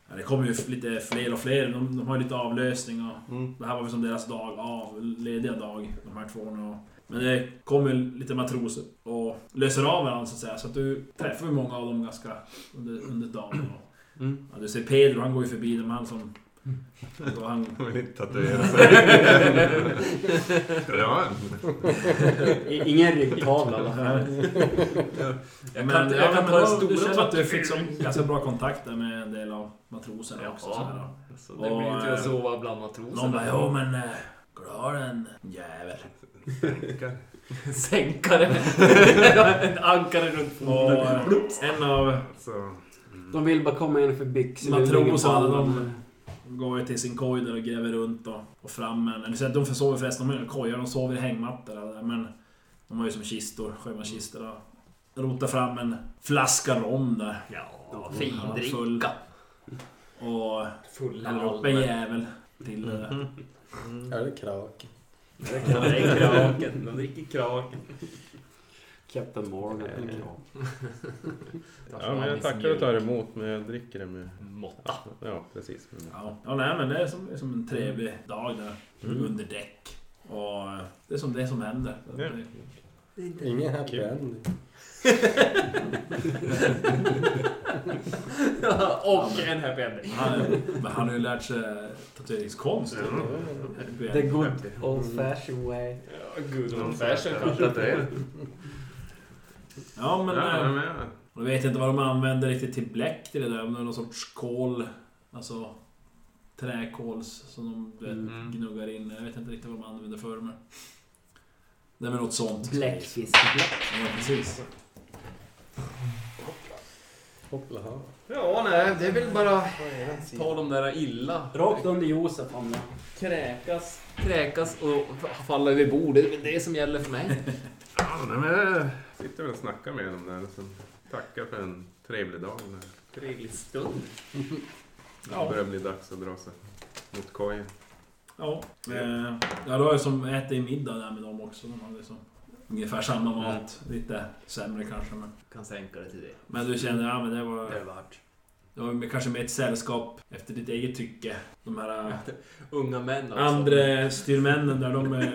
[SPEAKER 2] ja, det kommer ju lite fler och fler. De, de har ju lite avlösning och...
[SPEAKER 5] Mm.
[SPEAKER 2] Det här var väl som deras dag av, lediga dag, de här två nu. Men det kommer ju lite matroser och löser av varandra så att säga. Så att du träffar ju många av dem ganska under, under dagen. Och,
[SPEAKER 9] Mm.
[SPEAKER 2] ja, du ser Pedro, han går ju förbi dem. Han som...
[SPEAKER 8] Mm.
[SPEAKER 2] Då han,
[SPEAKER 9] Han vill inte tatuera sig. ja,
[SPEAKER 3] I- Ingen ryggtavla i alla fall.
[SPEAKER 8] Jag
[SPEAKER 2] men,
[SPEAKER 8] kan,
[SPEAKER 2] ja,
[SPEAKER 8] jag kan
[SPEAKER 2] men
[SPEAKER 8] ta
[SPEAKER 2] då-
[SPEAKER 8] den
[SPEAKER 2] Du
[SPEAKER 8] stora
[SPEAKER 2] känner att du fick som ganska bra kontakt där med en del av matroserna också. Så här, då.
[SPEAKER 7] Så det blir
[SPEAKER 2] Och,
[SPEAKER 7] ju till
[SPEAKER 2] eh,
[SPEAKER 7] att sova bland matroserna.
[SPEAKER 2] Någon bara, jo men... eh, Klar en jävel.
[SPEAKER 9] tackar.
[SPEAKER 8] sänkare. en ankare runt
[SPEAKER 2] Och
[SPEAKER 8] foten.
[SPEAKER 2] eh, en av
[SPEAKER 9] Så,
[SPEAKER 3] De vill bara komma in för byxor.
[SPEAKER 2] Matroserna, de- går ju till sin koj där och gräver runt och, och fram en. Du ser att de försover förresten, de har ju kojar, de sover i hängmattor där, men de har ju som kistor, sjömanskistor. och Rotar fram en flaska rom där.
[SPEAKER 8] Ja,
[SPEAKER 2] Han är full.
[SPEAKER 8] findricka.
[SPEAKER 2] Och
[SPEAKER 8] Fulla
[SPEAKER 2] häller upp en
[SPEAKER 8] alver.
[SPEAKER 2] jävel till eh, det där.
[SPEAKER 5] Mm. Är det krak?
[SPEAKER 8] Ja, det är kraken. De dricker kraken.
[SPEAKER 3] Captain Morgan. eller kram.
[SPEAKER 9] ja, men jag tackar och tar emot, men jag dricker det med...
[SPEAKER 8] Måtta.
[SPEAKER 9] Ja, precis.
[SPEAKER 2] Ja, ja nej, men det är som, det är som en trevlig
[SPEAKER 8] Mm.
[SPEAKER 2] dag där. Under däck. Och eh, det är som det som händer.
[SPEAKER 9] Ja.
[SPEAKER 5] Ingen happy ending.
[SPEAKER 8] och en happy ending.
[SPEAKER 2] Han, men han har ju lärt sig tatueringskonst.
[SPEAKER 9] Mm.
[SPEAKER 3] The good old fashioned way.
[SPEAKER 8] Ja, good old fashion kanske.
[SPEAKER 9] det.
[SPEAKER 2] Ja men...
[SPEAKER 9] Ja,
[SPEAKER 2] eh,
[SPEAKER 9] men ja.
[SPEAKER 2] Jag vet inte vad de använder riktigt till bläck till det där. Om det är någon sorts kol. Alltså träkols som de du vet,
[SPEAKER 9] Mm.
[SPEAKER 2] gnuggar in. Jag vet inte riktigt vad de använder för men... Det är väl något sånt.
[SPEAKER 3] Bläckfiskbläck.
[SPEAKER 2] Ja, precis.
[SPEAKER 5] Hoppla ha.
[SPEAKER 7] Ja, nej, det är väl bara
[SPEAKER 5] Ta-
[SPEAKER 7] ta de där illa.
[SPEAKER 3] Rakt under Josef hamnar
[SPEAKER 8] Kräkas. Kräkas och falla över bordet. Det är väl det som gäller för mig.
[SPEAKER 9] Ja, nej, men jag sitter väl och snackar med dem där och sen tackar för en trevlig dag. När
[SPEAKER 8] Trevlig stund.
[SPEAKER 9] det börjar bli dags att dra sig mot kojen.
[SPEAKER 2] Ja. Eh, ja, då har jag som ätit middag där med dem också. De hade som ungefär samma mat. Lite sämre kanske men.
[SPEAKER 8] Kan sänka det till det.
[SPEAKER 2] Men du känner, ja men det var...
[SPEAKER 8] Det är värt.
[SPEAKER 2] Det var kanske med ett sällskap efter ditt eget tycke. De här... eh,
[SPEAKER 8] Unga män
[SPEAKER 7] Alltså,
[SPEAKER 8] alltså. också.
[SPEAKER 2] Andra styrmännen där, de... eh,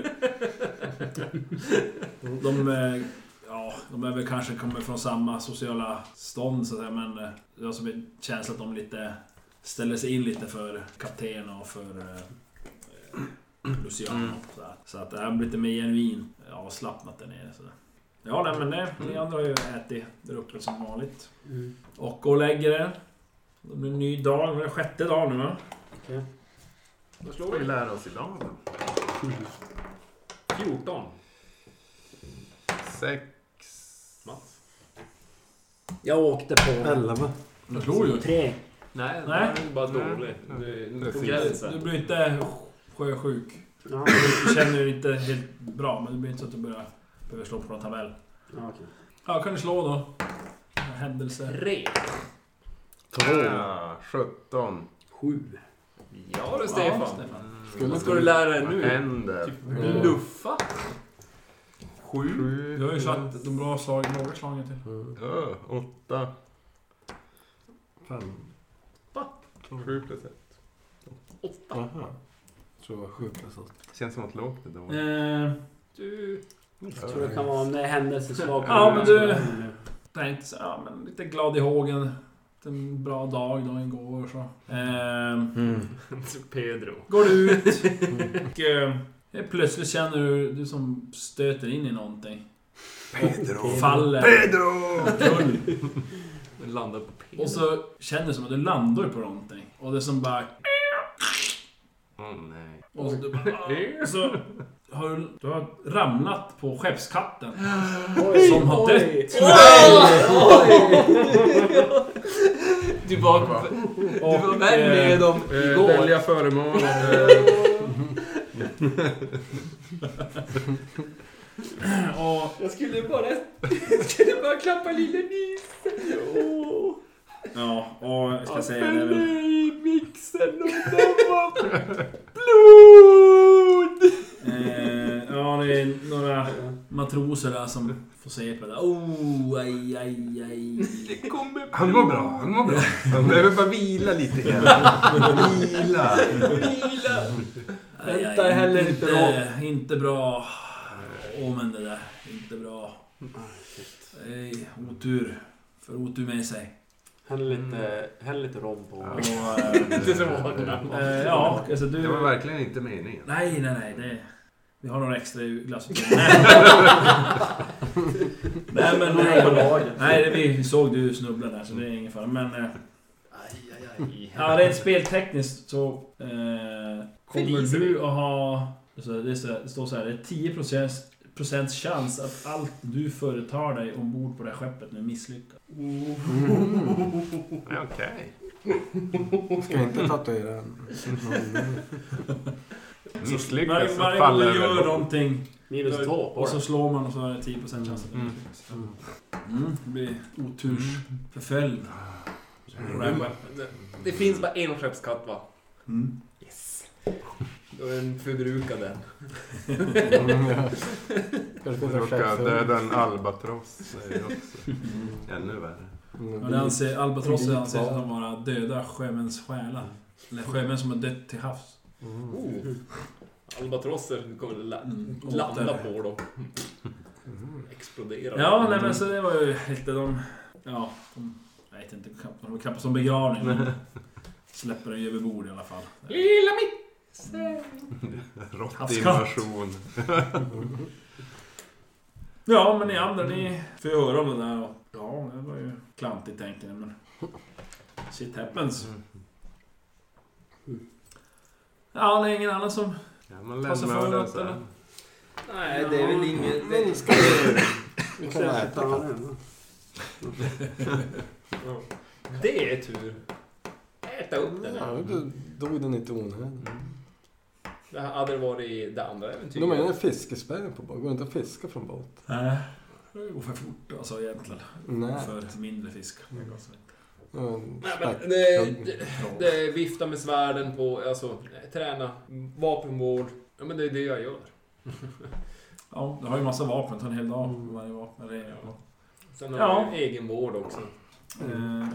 [SPEAKER 2] De... eh, Ja, de är väl kanske kommer från samma sociala stånd så att säga, men eh, jag har som en känsla att de lite ställer sig in lite för kapten och för eh, eh, Luciano. Så, att- så att det här blir lite mer genuin eh, avslappnat där nere. Så. Ja, nej, men det, ni andra har ju ätit där uppe som vanligt.
[SPEAKER 3] Mm.
[SPEAKER 2] Och går och lägger er. Det blir en ny dag, det är sjätte dagen nu va?
[SPEAKER 9] Vad slår vi lära oss idag då?
[SPEAKER 8] 14.
[SPEAKER 9] Sex.
[SPEAKER 3] Jag åkte på...
[SPEAKER 5] 11.
[SPEAKER 2] Jag tror ju.
[SPEAKER 3] Tre.
[SPEAKER 7] Nej,
[SPEAKER 2] Nej.
[SPEAKER 7] Nej. det är bara dålig.
[SPEAKER 9] Det-
[SPEAKER 7] Precis.
[SPEAKER 2] Du blir inte sjösjuk.
[SPEAKER 3] Ja,
[SPEAKER 2] Du känner dig inte helt bra, men det blir inte så att du börjar, behöver slå på någon tabell.
[SPEAKER 3] ja, okej.
[SPEAKER 2] Ja, kan du slå då? Händelser.
[SPEAKER 7] Tre.
[SPEAKER 9] Ah, 17.
[SPEAKER 3] Sju.
[SPEAKER 7] Ja du Stefan.
[SPEAKER 2] Ja, Stefan.
[SPEAKER 9] Mm.
[SPEAKER 7] Vad ska du lära dig
[SPEAKER 9] Vad
[SPEAKER 7] nu?
[SPEAKER 9] händer?
[SPEAKER 7] Typ luffa?
[SPEAKER 9] Mm. Sju.
[SPEAKER 2] Du har ju satt de bra slag, några slag till.
[SPEAKER 9] Ja, åtta.
[SPEAKER 5] Fem.
[SPEAKER 9] Sju plus ett.
[SPEAKER 5] Jaha. Tror det var sju plus åtta.
[SPEAKER 9] Känns som att lågt det då.
[SPEAKER 2] Eh,
[SPEAKER 7] Du...
[SPEAKER 3] Jag tror det kan vara om det är händelseslag.
[SPEAKER 2] Ja, men du- nej, inte så, ja, men lite glad i hågen. En bra dag då igår och så. Eh,
[SPEAKER 7] Pedro.
[SPEAKER 2] Går du ut och eh, helt plötsligt känner du, du som stöter in i någonting.
[SPEAKER 5] Pedro.
[SPEAKER 2] Och faller. Omkull.
[SPEAKER 7] Den landar på Pedro.
[SPEAKER 2] Och så känner du som att du landar på någonting. Och det som bara...
[SPEAKER 9] Åh nej.
[SPEAKER 2] Och så, du bara, ah. Och så har du, du har ramlat på skeppskatten. som har dött.
[SPEAKER 7] Du var, du var
[SPEAKER 2] Och,
[SPEAKER 7] vän
[SPEAKER 2] eh,
[SPEAKER 7] med dem
[SPEAKER 9] Eh,
[SPEAKER 7] igår.
[SPEAKER 9] välja föremål. Eh,
[SPEAKER 2] och,
[SPEAKER 8] Jag skulle bara... Jag skulle bara klappa lilla Nisse. Åh,
[SPEAKER 2] ja, och jag ska
[SPEAKER 8] han
[SPEAKER 2] säga det är
[SPEAKER 8] fällde
[SPEAKER 2] väl...
[SPEAKER 8] i mixen och det var blod!
[SPEAKER 2] Eh, ja, det är några matroser där som får se på det. Oh, aj, aj, aj.
[SPEAKER 8] Det kommer
[SPEAKER 9] han mår bra, han mår bra. Han behöver bara vila lite grann. Vila.
[SPEAKER 8] bilar.
[SPEAKER 2] Aj,
[SPEAKER 3] Vänta,
[SPEAKER 2] aj,
[SPEAKER 3] heller inte
[SPEAKER 2] inte, inte bra. Åh, men det där. Inte bra. Ej, otur. För otur med sig.
[SPEAKER 3] Häll lite, häll lite rom på
[SPEAKER 2] Och, eh,
[SPEAKER 8] Inte så hårt.
[SPEAKER 2] eh, ja, alltså du...
[SPEAKER 9] Det var verkligen inte meningen.
[SPEAKER 2] Nej, nej, nej. Det... Vi har några extra i glasutrymme. nej, men... Nej, nej det, vi såg du snubbla där, så det är ingen fara. Men... Eh,
[SPEAKER 7] Aj, aj, aj.
[SPEAKER 2] Ja, rent speltekniskt så eh, kommer du att ha... Alltså det, är så, det står så här, det är 10 procents chans att allt du företar dig ombord på det här skeppet nu misslyckas.
[SPEAKER 9] Okej.
[SPEAKER 5] Mm. Ska jag inte tatuera Mm. en?
[SPEAKER 2] Varje,
[SPEAKER 9] Misslyckas så
[SPEAKER 2] varje gång
[SPEAKER 9] faller
[SPEAKER 2] du
[SPEAKER 9] väl
[SPEAKER 2] gör
[SPEAKER 9] bort.
[SPEAKER 2] någonting
[SPEAKER 3] Minus två på
[SPEAKER 2] och så
[SPEAKER 3] den.
[SPEAKER 2] slår man och så är det 10 procent chans att det
[SPEAKER 9] Mm.
[SPEAKER 2] misslyckas. Mm, det blir otursförföljd. på
[SPEAKER 9] Mm.
[SPEAKER 2] det här skeppet.
[SPEAKER 7] Det- Det finns bara en skeppskatt va?
[SPEAKER 2] Mm.
[SPEAKER 7] Yes. Då är den förbrukad den.
[SPEAKER 5] Kanske inte
[SPEAKER 9] Råkar
[SPEAKER 5] chef.
[SPEAKER 9] döda en albatross. Det är också ännu värre.
[SPEAKER 2] Och det anser, albatrosser
[SPEAKER 7] Mm.
[SPEAKER 2] anses som vara döda sjömäns själar. Eller sjömän som har dött till havs.
[SPEAKER 5] Mm.
[SPEAKER 7] Oh. Albatrosser kommer la
[SPEAKER 2] Mm.
[SPEAKER 7] landa på dem. Explodera.
[SPEAKER 2] Ja, nej men så det var ju lite de... Ja, de... Jag vet inte, knappt- de var knappt som begravning. men Släpper den ju över bord i alla fall.
[SPEAKER 7] Lilla Misse!
[SPEAKER 9] Råttinvasion.
[SPEAKER 2] Ja, men ni andra ni får ju höra om det där och... Ja, det var ju klantigt tänker ni men... Shit happens. Ja, det är ingen annan som...
[SPEAKER 9] Ja, man
[SPEAKER 2] Passa
[SPEAKER 9] lämnar
[SPEAKER 2] för
[SPEAKER 9] det
[SPEAKER 2] något,
[SPEAKER 9] så här.
[SPEAKER 2] eller?
[SPEAKER 7] Nej, det är väl inget...
[SPEAKER 5] Men ska vi... Vi kan äta katten.
[SPEAKER 7] Det är tur. Äta upp den.
[SPEAKER 5] Ja, du dog den inte i onödan.
[SPEAKER 7] Det här hade det varit i det andra äventyret.
[SPEAKER 5] De har ju en fiskespö på båt. Går det inte att fiska från båt?
[SPEAKER 2] Nej. Det går för fort alltså egentligen.
[SPEAKER 5] Nej.
[SPEAKER 2] För mindre fisk. alltså
[SPEAKER 5] Mm,
[SPEAKER 7] Nej,
[SPEAKER 5] stack- Mm.
[SPEAKER 7] men det, det, det vifta med svärden på, alltså träna, vapenvård. Ja men det är det jag gör.
[SPEAKER 2] Ja, du har ju massa vapen. Det tar en hel dag på varje vapen. Det är-
[SPEAKER 7] Sen har
[SPEAKER 2] Ja.
[SPEAKER 7] jag ju egenvård också.
[SPEAKER 2] Eh,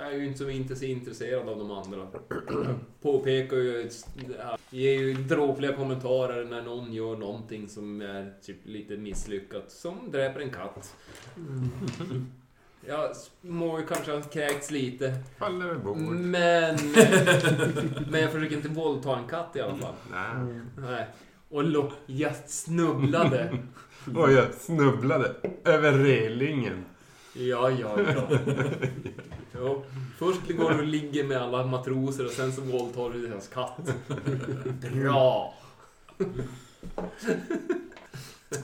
[SPEAKER 7] Jag är ju inte så inte så intresserad av de andra. Jag påpekar ju, ett- det här- ger ju dråpliga kommentarer när någon gör någonting som är typ lite misslyckat. Som dräper en katt. Jag må ju kanske ha kräkts lite.
[SPEAKER 9] Faller över bord.
[SPEAKER 7] Men... men jag försöker inte våldta en katt i alla fall.
[SPEAKER 9] Nej.
[SPEAKER 7] Nej. Och lo- jag snubblade.
[SPEAKER 9] Oj, jag snubblade över relingen.
[SPEAKER 7] Ja, ja, ja. Jo. Först går du och ligger med alla matroser och sen så våldtar du deras katt. Bra!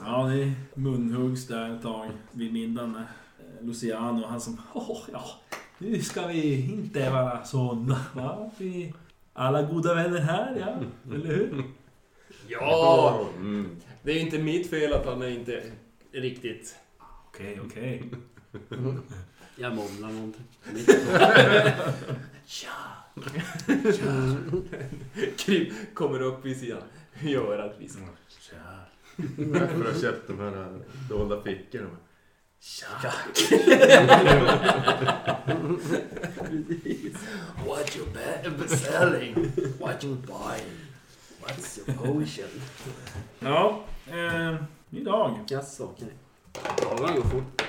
[SPEAKER 2] Ja, ni munhuggs där ett tag vid middagen. Eh, Luciano, han som "Åh, ja, nu ska vi inte vara såna. Va? Vi, alla goda vänner här, ja. Eller hur?
[SPEAKER 7] Ja!
[SPEAKER 9] Mm.
[SPEAKER 7] Det är ju inte mitt fel att han är inte riktigt...
[SPEAKER 2] Okej, okej.
[SPEAKER 3] Jag mumlar någonting.
[SPEAKER 7] Kryp kommer upp vid sidan. Gör att vi ska...
[SPEAKER 9] Därför har jag köpt de här eh, dolda fickorna.
[SPEAKER 7] What you be- selling? What you buying? What's your potion?
[SPEAKER 2] Ja, eh, ny dag.
[SPEAKER 3] Jaså, okej.
[SPEAKER 7] Dagarna går fort.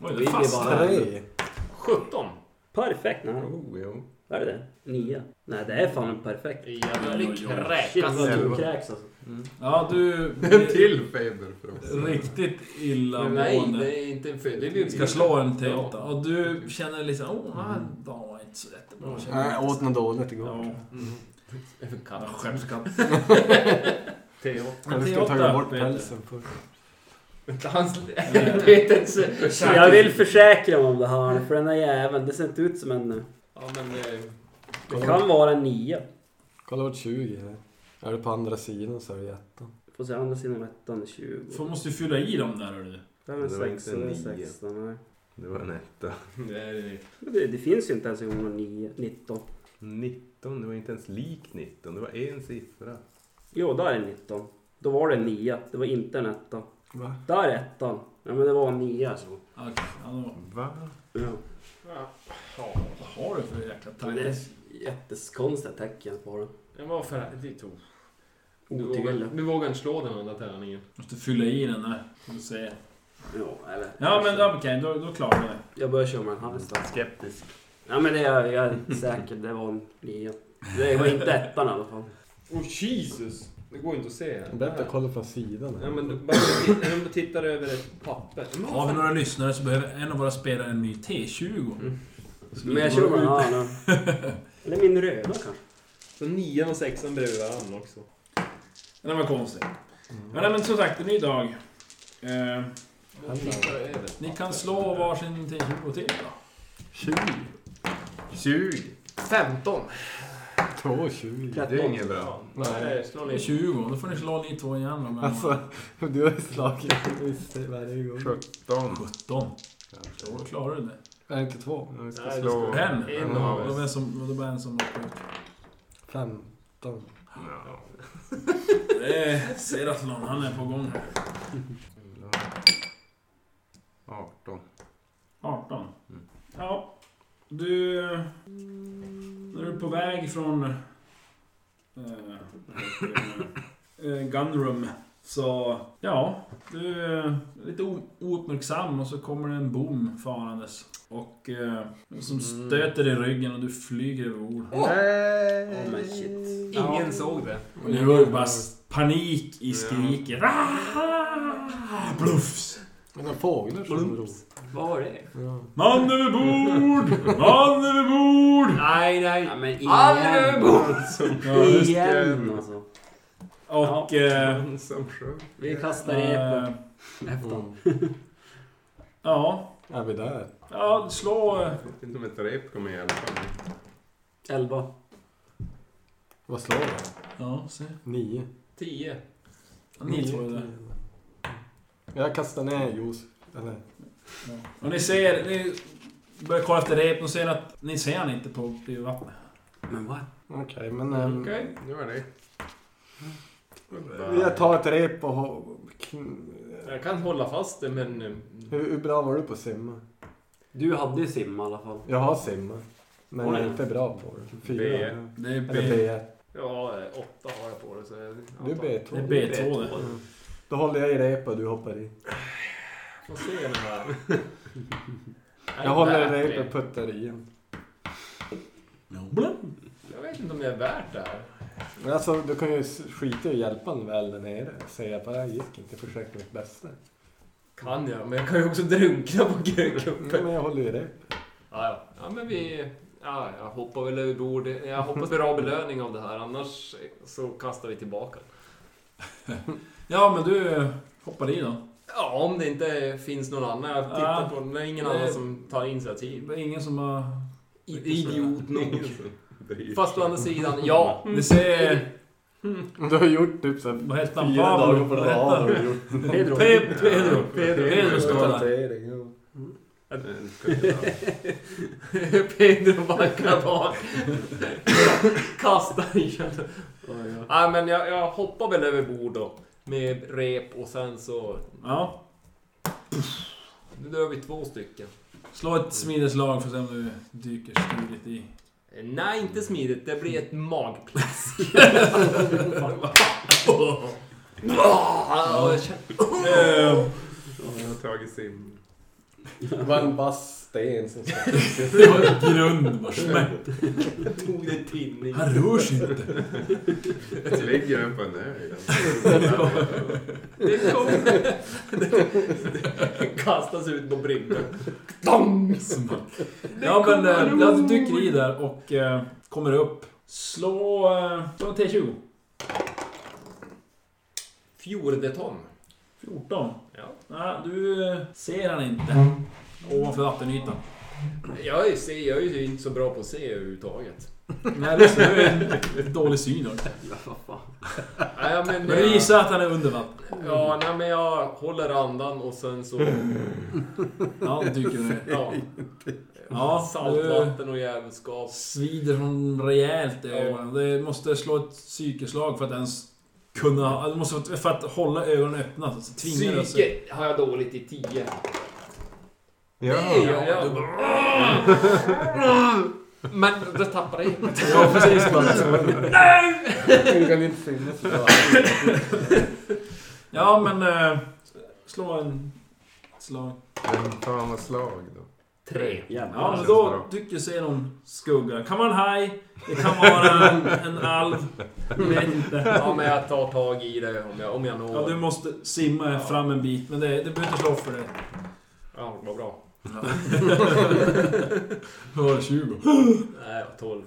[SPEAKER 2] Oj,
[SPEAKER 3] Vi
[SPEAKER 2] det
[SPEAKER 3] är
[SPEAKER 2] fastnar.
[SPEAKER 3] bara-
[SPEAKER 5] Hej!
[SPEAKER 7] 17!
[SPEAKER 3] Perfekt. Nej,
[SPEAKER 9] Oh, jo.
[SPEAKER 3] vad är det? Nio. Nej, det är fan en perfekt.
[SPEAKER 7] Jävlar
[SPEAKER 2] Oj, oj, oj.
[SPEAKER 3] Shit
[SPEAKER 7] kräkas.
[SPEAKER 3] vad du kräks alltså.
[SPEAKER 7] Mm.
[SPEAKER 2] Ja, du
[SPEAKER 9] En
[SPEAKER 2] blir
[SPEAKER 9] till feber för oss.
[SPEAKER 2] riktigt
[SPEAKER 7] Nej,
[SPEAKER 2] illamående.
[SPEAKER 7] det är inte en fel. Det är ju-
[SPEAKER 2] Ska slå en till
[SPEAKER 7] Ja.
[SPEAKER 2] åtta. Och du känner liksom, åh, den här dagen var inte så jättebra.
[SPEAKER 5] Nej, Jag åt något dåligt
[SPEAKER 2] Ja, Mm.
[SPEAKER 5] igår.
[SPEAKER 7] Även
[SPEAKER 2] ja,
[SPEAKER 7] katt.
[SPEAKER 2] självskatt.
[SPEAKER 7] Teo.
[SPEAKER 5] Eller ska
[SPEAKER 2] T8,
[SPEAKER 5] jag ta bort
[SPEAKER 2] Peter.
[SPEAKER 5] pälsen först?
[SPEAKER 7] Hans... Peters...
[SPEAKER 3] Jag vill försäkra mig om det här, för den här jäveln, det ser inte ut som en...
[SPEAKER 7] Ja, men... eh,
[SPEAKER 3] Det kan vara en nia.
[SPEAKER 5] Kolla vart 20 är. Är du på andra sidan så är det jätten.
[SPEAKER 3] Får se, andra sidan ettan är 20.
[SPEAKER 2] Får måste ju fylla i dem där hörru.
[SPEAKER 3] Det är en
[SPEAKER 9] Det var inte
[SPEAKER 3] 16, det är
[SPEAKER 9] en nia.
[SPEAKER 3] 16. nej.
[SPEAKER 9] Det var en etta.
[SPEAKER 7] Det är...
[SPEAKER 3] Men Det, det finns ju inte ens en gång någon 9, 19.
[SPEAKER 9] 19, det var inte ens lik 19. Det var en siffra.
[SPEAKER 3] Jo, där är 19. Då var det en nia, det var inte en etta.
[SPEAKER 5] Va?
[SPEAKER 3] Där är ettan. Ja, men det var en nia alltså.
[SPEAKER 2] Okej, ja, då.
[SPEAKER 9] Va?
[SPEAKER 3] Ja.
[SPEAKER 2] Vad har du för jäkla
[SPEAKER 3] Det är
[SPEAKER 2] tanke?
[SPEAKER 3] jättekonstiga tecken på den.
[SPEAKER 7] Det var för... Det tog... Du
[SPEAKER 3] Otydliga.
[SPEAKER 7] vågar, du vågar inte slå den andra tärningen.
[SPEAKER 2] Måste fylla i den där. Får vi se.
[SPEAKER 3] Ja, eller...
[SPEAKER 2] Ja men okej, då, Mm, då klarar vi det.
[SPEAKER 3] Jag börjar köra med en halvstad. Skeptisk. Ja, men det är jag, jag är säker. Det var en nia. Det var inte ettan i alla fall.
[SPEAKER 7] Åh Jesus! Det går inte att se här.
[SPEAKER 5] Bättre kolla från sidan. här.
[SPEAKER 7] Ja, men du, bara om du tittar över ett papper. Men
[SPEAKER 2] Har vi några lyssnare så behöver en av våra spelare en ny T20.
[SPEAKER 3] Men jag kör med den här nu. Eller min röda kanske.
[SPEAKER 7] Så nian och sexan bredvid varandra också.
[SPEAKER 2] Den var konstig. Men, nej, men som sagt, en ny dag. Eh,
[SPEAKER 7] Men tittar över.
[SPEAKER 2] ni kan slå varsin T20 till då.
[SPEAKER 9] 20!
[SPEAKER 7] 15!
[SPEAKER 5] Två 20.
[SPEAKER 9] Det är inget bra.
[SPEAKER 5] Nej.
[SPEAKER 7] slå
[SPEAKER 2] Det är 20, då får ni slå ni två igen då. Men
[SPEAKER 5] Alltså, du har ju slagit visst varje gång.
[SPEAKER 9] 17.
[SPEAKER 2] 17. Då klarar du det.
[SPEAKER 5] Är inte två?
[SPEAKER 9] Ja, vi ska
[SPEAKER 7] Nej,
[SPEAKER 9] slå...
[SPEAKER 2] det ska-
[SPEAKER 7] En
[SPEAKER 9] En av
[SPEAKER 2] Då
[SPEAKER 9] oss.
[SPEAKER 2] var det som, då var det en som åkte ut.
[SPEAKER 5] Femton.
[SPEAKER 9] Ja.
[SPEAKER 2] Det är Seratlon, han är på gång.
[SPEAKER 9] 18.
[SPEAKER 2] 18.
[SPEAKER 9] Mm.
[SPEAKER 2] Ja, du... När du är på väg från... Eh, eh, Gunroom. Så, ja. Du är lite o- ouppmärksam och så kommer det en bom farandes. Och eh, som stöter i ryggen och du flyger över bord.
[SPEAKER 9] Nej!
[SPEAKER 3] Oh, men shit.
[SPEAKER 7] Ingen såg det.
[SPEAKER 2] Och nu var det bara panik i skriket. Bluffs!
[SPEAKER 5] Men de fåglar som ror.
[SPEAKER 3] Vad var det?
[SPEAKER 5] Ja.
[SPEAKER 2] Man över bord! Man över bord!
[SPEAKER 7] Nej, nej.
[SPEAKER 3] Ja, men
[SPEAKER 7] Aldrig
[SPEAKER 3] igen.
[SPEAKER 7] överbord!
[SPEAKER 2] Ja,
[SPEAKER 3] igen alltså.
[SPEAKER 2] och... Eh,
[SPEAKER 9] Någon som sjöng.
[SPEAKER 3] Vi kastar
[SPEAKER 2] eh,
[SPEAKER 3] repet efter.
[SPEAKER 5] Mm.
[SPEAKER 2] ja,
[SPEAKER 5] Är vi där?
[SPEAKER 2] ja, slå... eh,
[SPEAKER 9] Jag vet inte om ett rep kommer i alla fall.
[SPEAKER 3] Elva.
[SPEAKER 5] Vad slår jag?
[SPEAKER 2] Ja, se.
[SPEAKER 5] Nio.
[SPEAKER 7] Tio.
[SPEAKER 2] Ni två är där.
[SPEAKER 5] Nio. Mm. Jag kastar ner juice. Eller?
[SPEAKER 2] Ja. Och ni ser... Ni börjar kolla efter repen och ser att ni ser han inte på bredvid vattnet.
[SPEAKER 3] Men vad?
[SPEAKER 5] Okej, men... ehm,
[SPEAKER 7] Okej.
[SPEAKER 9] Nu var det.
[SPEAKER 5] Jag tar ett rep och... ho- kn-
[SPEAKER 7] Jag kan hålla fast det, men... eh,
[SPEAKER 5] Hur, hur bra var du på att simma?
[SPEAKER 3] Du hade ju sim i alla fall.
[SPEAKER 5] Jag har simmat. Men
[SPEAKER 3] Oj.
[SPEAKER 5] jag är inte bra på det. Fyra.
[SPEAKER 9] B.
[SPEAKER 5] Eller
[SPEAKER 2] Det är B,
[SPEAKER 5] B1.
[SPEAKER 7] Ja, eh, åtta har jag på det, så... jag-
[SPEAKER 5] Du är
[SPEAKER 2] det är
[SPEAKER 5] B2.
[SPEAKER 2] B2 det.
[SPEAKER 5] Mm. Då håller jag i rep och du hoppar i.
[SPEAKER 7] Får se den här. Är
[SPEAKER 5] Jag håller
[SPEAKER 7] värt
[SPEAKER 5] i
[SPEAKER 7] det?
[SPEAKER 5] rep och puttar i en.
[SPEAKER 2] Blum.
[SPEAKER 7] Jag vet inte om det är värt det här.
[SPEAKER 5] Men alltså, du kan ju s- skita i att hjälpa honom väl där nere. Säga bara, jag gick inte, jag försökte mitt bästa.
[SPEAKER 7] Kan jag, men jag kan ju också drunkna på
[SPEAKER 5] Nej,
[SPEAKER 7] grönkuppen.
[SPEAKER 5] men jag håller i rep.
[SPEAKER 7] Ja, ja. ja, men vi... Ja, jag hoppar väl över bord. Jag hoppas på bra belöning av det här, annars så kastar vi tillbaka.
[SPEAKER 2] Ja, men du eh, hoppar i då.
[SPEAKER 7] Ja, om det inte finns någon annan. Jag tittar på den. Det är ingen
[SPEAKER 2] Nej.
[SPEAKER 7] annan som tar initiativ.
[SPEAKER 2] Det är ingen som har...
[SPEAKER 7] I- Idiot nog.
[SPEAKER 9] Bryr
[SPEAKER 7] Fast å andra sidan, ja.
[SPEAKER 5] Mm.
[SPEAKER 2] Det ser...
[SPEAKER 5] Du har gjort typ såhär
[SPEAKER 2] Vad hette han?
[SPEAKER 5] fyra dagar på
[SPEAKER 2] Pablo?
[SPEAKER 5] rad.
[SPEAKER 2] Vad
[SPEAKER 5] har
[SPEAKER 2] hette
[SPEAKER 5] du gjort.
[SPEAKER 3] Pedro.
[SPEAKER 2] Pe- Pedro.
[SPEAKER 7] Pedro.
[SPEAKER 2] Pedro står där.
[SPEAKER 5] Plantering, ja.
[SPEAKER 7] Pedro backar bak. Kastar i den. Nej, men jag, jag hoppar väl över bord då. Med rep och sen så...
[SPEAKER 2] Ja.
[SPEAKER 7] Nu drar vi två stycken.
[SPEAKER 2] Slå ett smideslag för att se om du dyker stiligt i.
[SPEAKER 7] Nej, inte smidigt. Det blir ett magplask. Ja, jag känner-
[SPEAKER 9] Jag har tagit sim.
[SPEAKER 5] Det var en vass sten som stack.
[SPEAKER 2] Det var grund bara smärt.
[SPEAKER 7] jag tog det i tinning.
[SPEAKER 2] Han rör sig inte.
[SPEAKER 9] Jag ligger den på en ö.
[SPEAKER 7] Det kom... Det kastas ut på bryggan. Dong!
[SPEAKER 2] Ja men eh, ja, du dyker i där och eh, kommer upp. Slå... Eh, slå en T20.
[SPEAKER 7] Fjordeton.
[SPEAKER 2] 14.
[SPEAKER 7] Ja.
[SPEAKER 2] Nej, du eh, ser han inte.
[SPEAKER 7] Mm.
[SPEAKER 2] Ovanför vattenytan.
[SPEAKER 7] Jag är, ser- jag är ju inte så bra på att se överhuvudtaget.
[SPEAKER 2] Nej, det är en dålig syn. då.
[SPEAKER 7] Nej, ja,
[SPEAKER 2] Men
[SPEAKER 7] men...
[SPEAKER 2] du gissar att han är under vatten?
[SPEAKER 7] Ja, nej, men jag håller andan och sen så...
[SPEAKER 2] Ja, det dyker ner.
[SPEAKER 7] Ja,
[SPEAKER 2] Ja, du
[SPEAKER 7] saltvatten och jävelskap.
[SPEAKER 2] svider från rejält i ögonen. Du måste slå ett psykeslag för att ens kunna... Du måste för att hålla ögonen öppna. Så tvingar du sig.
[SPEAKER 7] Psyke har jag dåligt i tio.
[SPEAKER 9] Ja.
[SPEAKER 7] Ja, ja. Men då tappar jag det.
[SPEAKER 2] Ja, precis.
[SPEAKER 5] Hon kan inte finnas idag.
[SPEAKER 2] Ja, men... eh, Slå en... Slag.
[SPEAKER 9] Men fan vad slag då.
[SPEAKER 7] Tre.
[SPEAKER 2] Ja,
[SPEAKER 3] Jävlar.
[SPEAKER 2] men då dyker sig någon skugga. Kan vara en haj. Det kan vara en, en alv. Jag vet inte.
[SPEAKER 7] Ja, men jag tar tag i det om jag, om jag når.
[SPEAKER 2] Ja, du måste simma fram en bit, men det, det behöver inte slå för det.
[SPEAKER 7] Ja, vad bra.
[SPEAKER 2] Var 20?
[SPEAKER 7] Nej, tolv.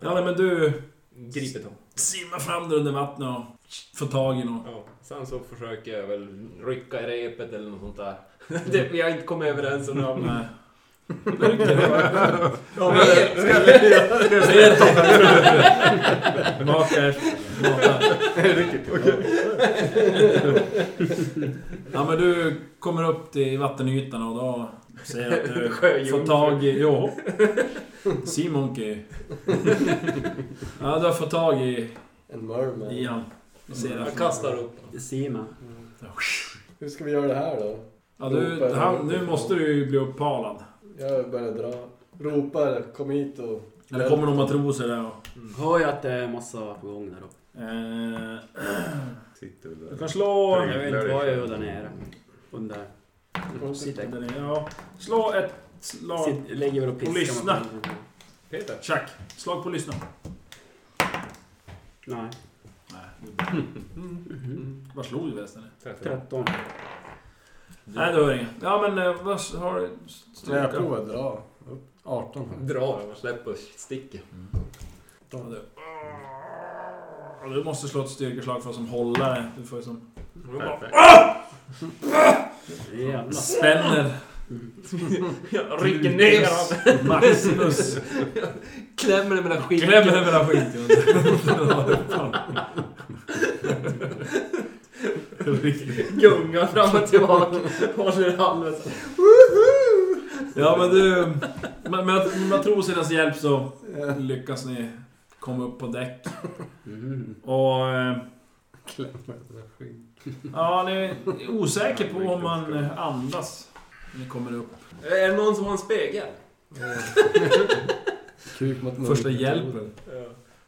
[SPEAKER 2] Ja, nej, men du...
[SPEAKER 7] Griper tag.
[SPEAKER 2] simma fram där under vattnet och få tag i någon.
[SPEAKER 7] Ja. Sen så försöker jag väl rycka i repet eller något sånt där. Det, vi har inte kommit överens om namn.
[SPEAKER 2] Nej. Mörker.
[SPEAKER 7] Ja, men-
[SPEAKER 2] Makers. Makar. Ja men du kommer upp till vattenytan och då ser jag att du
[SPEAKER 7] Sjöjungfru.
[SPEAKER 2] får tag i... Jo. Sea Monkey. Ja, du har fått tag i,
[SPEAKER 5] En merman.
[SPEAKER 2] i han. Du ser
[SPEAKER 7] Jag
[SPEAKER 2] att-
[SPEAKER 7] kastar upp.
[SPEAKER 3] Det ser man.
[SPEAKER 5] Hur ska vi göra det här då?
[SPEAKER 2] Ja, du, han, nu måste du ju bli uppalad.
[SPEAKER 5] Jag börjar dra. Ropar, kom hit och...
[SPEAKER 2] Eller kommer någon matroser där och...
[SPEAKER 3] Hör jag att det är massa på gång där uppe.
[SPEAKER 2] Eh,
[SPEAKER 9] Sitter
[SPEAKER 2] du
[SPEAKER 9] väl
[SPEAKER 2] kan
[SPEAKER 9] där.
[SPEAKER 2] slå...
[SPEAKER 3] Jag vet inte vad jag gör där nere. Under... Sitter
[SPEAKER 2] Där nere, Ja. Slå ett slag...
[SPEAKER 3] Sitter, lägger väl och piskar.
[SPEAKER 2] Och lyssna.
[SPEAKER 7] Peter.
[SPEAKER 2] Tjack! Slag på lyssna.
[SPEAKER 3] Nej.
[SPEAKER 2] Nej.
[SPEAKER 7] Mm-hmm.
[SPEAKER 2] Vad slog du förresten?
[SPEAKER 7] Tretton.
[SPEAKER 3] 13.
[SPEAKER 2] Nej, du hör inget. Ja, men eh, vad s- har du?
[SPEAKER 5] Nej, jag
[SPEAKER 2] Stryka?
[SPEAKER 5] provar att dra. Upp. 18 här.
[SPEAKER 7] Dra, släpp och sticker.
[SPEAKER 2] Ja, du. Ja, Du måste slå ett styrkeslag för att som hållare. Du får ju som...
[SPEAKER 9] Perfekt.
[SPEAKER 3] Jävlar.
[SPEAKER 2] Spänner
[SPEAKER 7] Jag rycker ner honom.
[SPEAKER 2] Maximus.
[SPEAKER 7] Klämmer det mellan skiten.
[SPEAKER 2] Klämmer den mellan skiten.
[SPEAKER 7] Gungar fram och tillbaka. Håller halva så.
[SPEAKER 2] Ja, men du... Med, med matrosernas hjälp så lyckas ni komma upp på däck.
[SPEAKER 7] Mm-hmm.
[SPEAKER 3] Mm.
[SPEAKER 2] Och... eh,
[SPEAKER 5] Klämmer den skit.
[SPEAKER 2] Ja, ni är osäker på om man eh, andas när ni kommer upp.
[SPEAKER 7] Är det någon som har en spegel?
[SPEAKER 5] Kuk mot mun.
[SPEAKER 2] Första hjälpen.
[SPEAKER 7] Ja.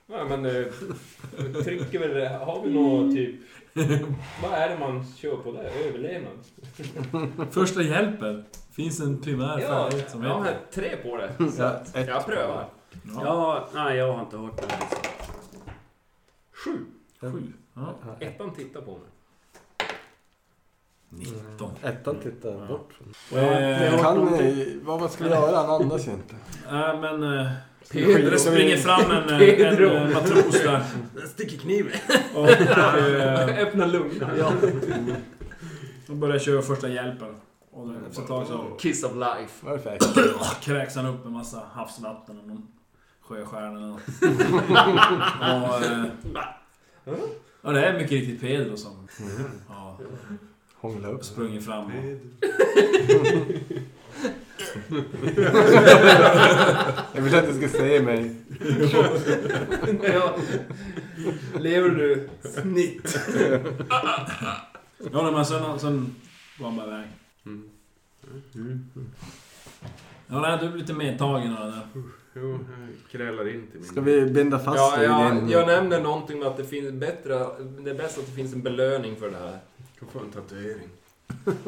[SPEAKER 7] Nej men... eh, Trycker väl det. Har vi någon typ... Vad är det man kör på där? Överlevnad?
[SPEAKER 2] Första hjälpen. Finns en primär
[SPEAKER 7] Ja,
[SPEAKER 2] färdighet som
[SPEAKER 7] jag har
[SPEAKER 2] heter...
[SPEAKER 7] tre på det. Så
[SPEAKER 5] Ja,
[SPEAKER 7] att
[SPEAKER 5] ett.
[SPEAKER 7] jag prövar.
[SPEAKER 2] Ja,
[SPEAKER 3] Ja, nej jag har inte hört det.
[SPEAKER 7] Sju.
[SPEAKER 2] sju. Ja.
[SPEAKER 7] Ettan tittar på mig.
[SPEAKER 2] 19.
[SPEAKER 5] Ettan tittar bort.
[SPEAKER 2] Eh,
[SPEAKER 3] Ja.
[SPEAKER 5] Kan ni... Vad, vad ska vi göra? Han andas ju inte.
[SPEAKER 2] äh, men... eh,
[SPEAKER 5] Pedro.
[SPEAKER 2] Det springer fram en, eh, en
[SPEAKER 7] Pedro.
[SPEAKER 2] eh, matros där.
[SPEAKER 7] Sticker kniven.
[SPEAKER 2] Och, eh,
[SPEAKER 7] Öppna lungorna.
[SPEAKER 2] Då börjar jag köra första hjälpen. Och då- efter ett tag så
[SPEAKER 8] Kiss of life.
[SPEAKER 5] Vad är det för
[SPEAKER 2] kräks han upp en massa havsvatten och någon sjöstjärna eller något. och, eh, och det är mycket riktigt Pedro som
[SPEAKER 9] Mm.
[SPEAKER 2] har
[SPEAKER 5] Hångla upp.
[SPEAKER 2] sprungit fram och
[SPEAKER 5] Jag vill att du ska se mig.
[SPEAKER 7] Ja. Lever du? Snitt.
[SPEAKER 2] Ja, nej, men sen, sen var han bara iväg.
[SPEAKER 9] Mm.
[SPEAKER 2] Ja, nej, du blir lite medtagen av det där.
[SPEAKER 9] Jo, jag krälar in till min...
[SPEAKER 5] Ska vi binda fast
[SPEAKER 7] Ja,
[SPEAKER 5] dig i
[SPEAKER 7] jag,
[SPEAKER 5] din...
[SPEAKER 7] jag nämner någonting med att det finns bättre... Det är bäst att det finns en belöning för det här.
[SPEAKER 9] Jag får en tatuering.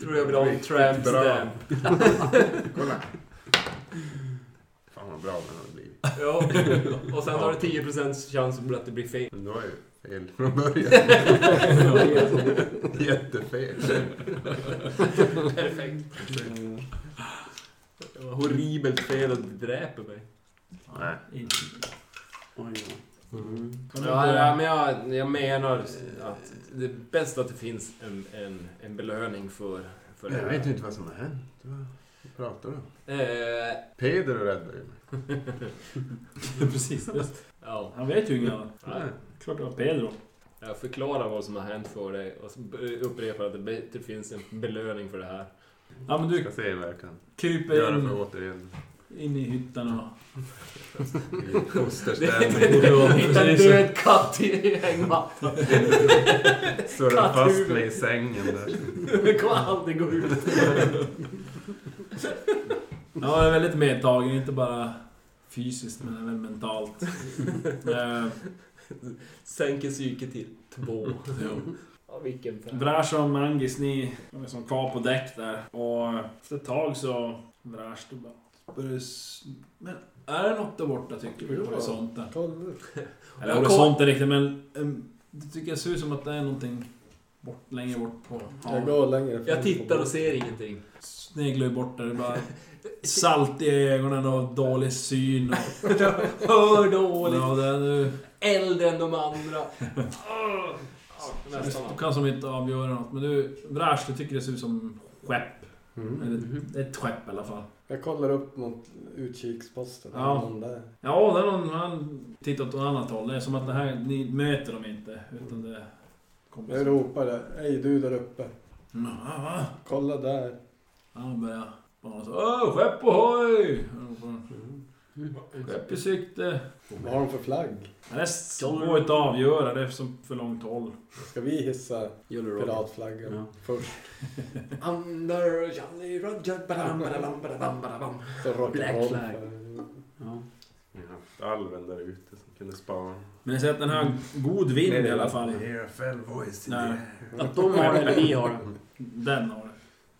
[SPEAKER 7] Tror jag vill ha en tramp
[SPEAKER 9] Bra.
[SPEAKER 7] stamp.
[SPEAKER 9] Kolla! Fan vad bra den har blivit.
[SPEAKER 7] Ja. Och sen har du 10% chans att det blir fel.
[SPEAKER 9] Men det var ju fel från början. Jättefel.
[SPEAKER 7] Perfekt. Det var horribelt fel och det dräper mig.
[SPEAKER 9] Nej.
[SPEAKER 2] I-
[SPEAKER 3] Oj, oj.
[SPEAKER 2] kan du
[SPEAKER 7] Ja,
[SPEAKER 2] börja-
[SPEAKER 7] ja, men jag, jag menar att det är bäst att det finns en, en, en belöning för, för det
[SPEAKER 9] Jag vet
[SPEAKER 7] här.
[SPEAKER 9] ju inte vad som har hänt. Vad vad pratar du om?
[SPEAKER 7] Eh,
[SPEAKER 9] Peder räddade ju mig.
[SPEAKER 2] Precis. Just.
[SPEAKER 7] ja,
[SPEAKER 2] Han vet ju inget annat.
[SPEAKER 7] Nej.
[SPEAKER 2] Klart det var Pedro.
[SPEAKER 7] jag förklarar vad som har hänt för dig och så upprepar att det, be- det finns en belöning för det här.
[SPEAKER 2] Ja, men
[SPEAKER 9] Du
[SPEAKER 2] du
[SPEAKER 9] ska se vad jag kan
[SPEAKER 2] kryper
[SPEAKER 9] göra för
[SPEAKER 2] in,
[SPEAKER 9] att återigen
[SPEAKER 2] in i hytten och...
[SPEAKER 9] bli i
[SPEAKER 7] Det är
[SPEAKER 9] fosterställning.
[SPEAKER 7] inte en
[SPEAKER 2] precis.
[SPEAKER 7] död katt i hängmattan.
[SPEAKER 9] Surra fast mig i sängen där.
[SPEAKER 7] Det kommer aldrig gå ut.
[SPEAKER 2] Ja, han är väldigt medtagen. Inte bara fysiskt, men även mentalt. Eh,
[SPEAKER 7] Sänker psyket till två.
[SPEAKER 2] jo.
[SPEAKER 7] Ja, vilken färg.
[SPEAKER 2] Vrash och Mangis, ni de är som kvar på däck där. Och efter ett tag så... Vrash, du bara... Börjar s- Men är det något där borta tycker du? På horisonten? Eller
[SPEAKER 7] Jag
[SPEAKER 2] horisonten riktigt, men... em, Det tycker jag ser ut som att det är någonting bort, längre bort på
[SPEAKER 5] Jag
[SPEAKER 2] havet.
[SPEAKER 5] går längre fram
[SPEAKER 7] Jag
[SPEAKER 5] på
[SPEAKER 7] tittar och
[SPEAKER 5] bordet.
[SPEAKER 7] ser ingenting.
[SPEAKER 2] Sneglar ju bort där, det är bara... Salt i ögonen och dålig syn och...
[SPEAKER 7] Hör dåligt.
[SPEAKER 2] Ja, det är nu...
[SPEAKER 7] Äldre än de andra. Åh! Ja,
[SPEAKER 2] Du
[SPEAKER 7] Nästan.
[SPEAKER 2] kan som inte avgöra något, men du... Vrash, du tycker det ser ut som skepp.
[SPEAKER 5] Mm.
[SPEAKER 2] Eller det är ett skepp i alla fall.
[SPEAKER 5] Jag kollar upp mot utkiksposten.
[SPEAKER 2] Ja.
[SPEAKER 5] Någon där.
[SPEAKER 2] Ja, det är någon, han tittar åt något annat håll. Det är som att det här, ni möter dem inte. Utan det kommer...
[SPEAKER 5] Jag ropar där. Hej du där uppe.
[SPEAKER 2] Mm, va, va?
[SPEAKER 5] Kolla där.
[SPEAKER 2] Han börjar bara så... Åh, skepp ohoj!
[SPEAKER 7] Mm.
[SPEAKER 2] Skepp i sikte.
[SPEAKER 5] Vad har de för flagg?
[SPEAKER 2] Men Det går inte att avgöra, det är som för långt håll.
[SPEAKER 5] Ska vi hissa
[SPEAKER 3] Jolly Roger.
[SPEAKER 5] piratflaggan
[SPEAKER 3] Ja.
[SPEAKER 5] först?
[SPEAKER 7] Under Jolly Roger, badam, badam, badam, badam.
[SPEAKER 5] Så rockar
[SPEAKER 3] Black
[SPEAKER 5] roll
[SPEAKER 3] flag.
[SPEAKER 5] för-
[SPEAKER 3] Ja.
[SPEAKER 9] Vi har haft alven där ute som kunde spana.
[SPEAKER 2] Men ni ser att den har god vind i alla fall.
[SPEAKER 9] Hear a fell voice in the
[SPEAKER 2] Nej.
[SPEAKER 9] air.
[SPEAKER 3] Att de har det eller vi har det.
[SPEAKER 2] Den har det.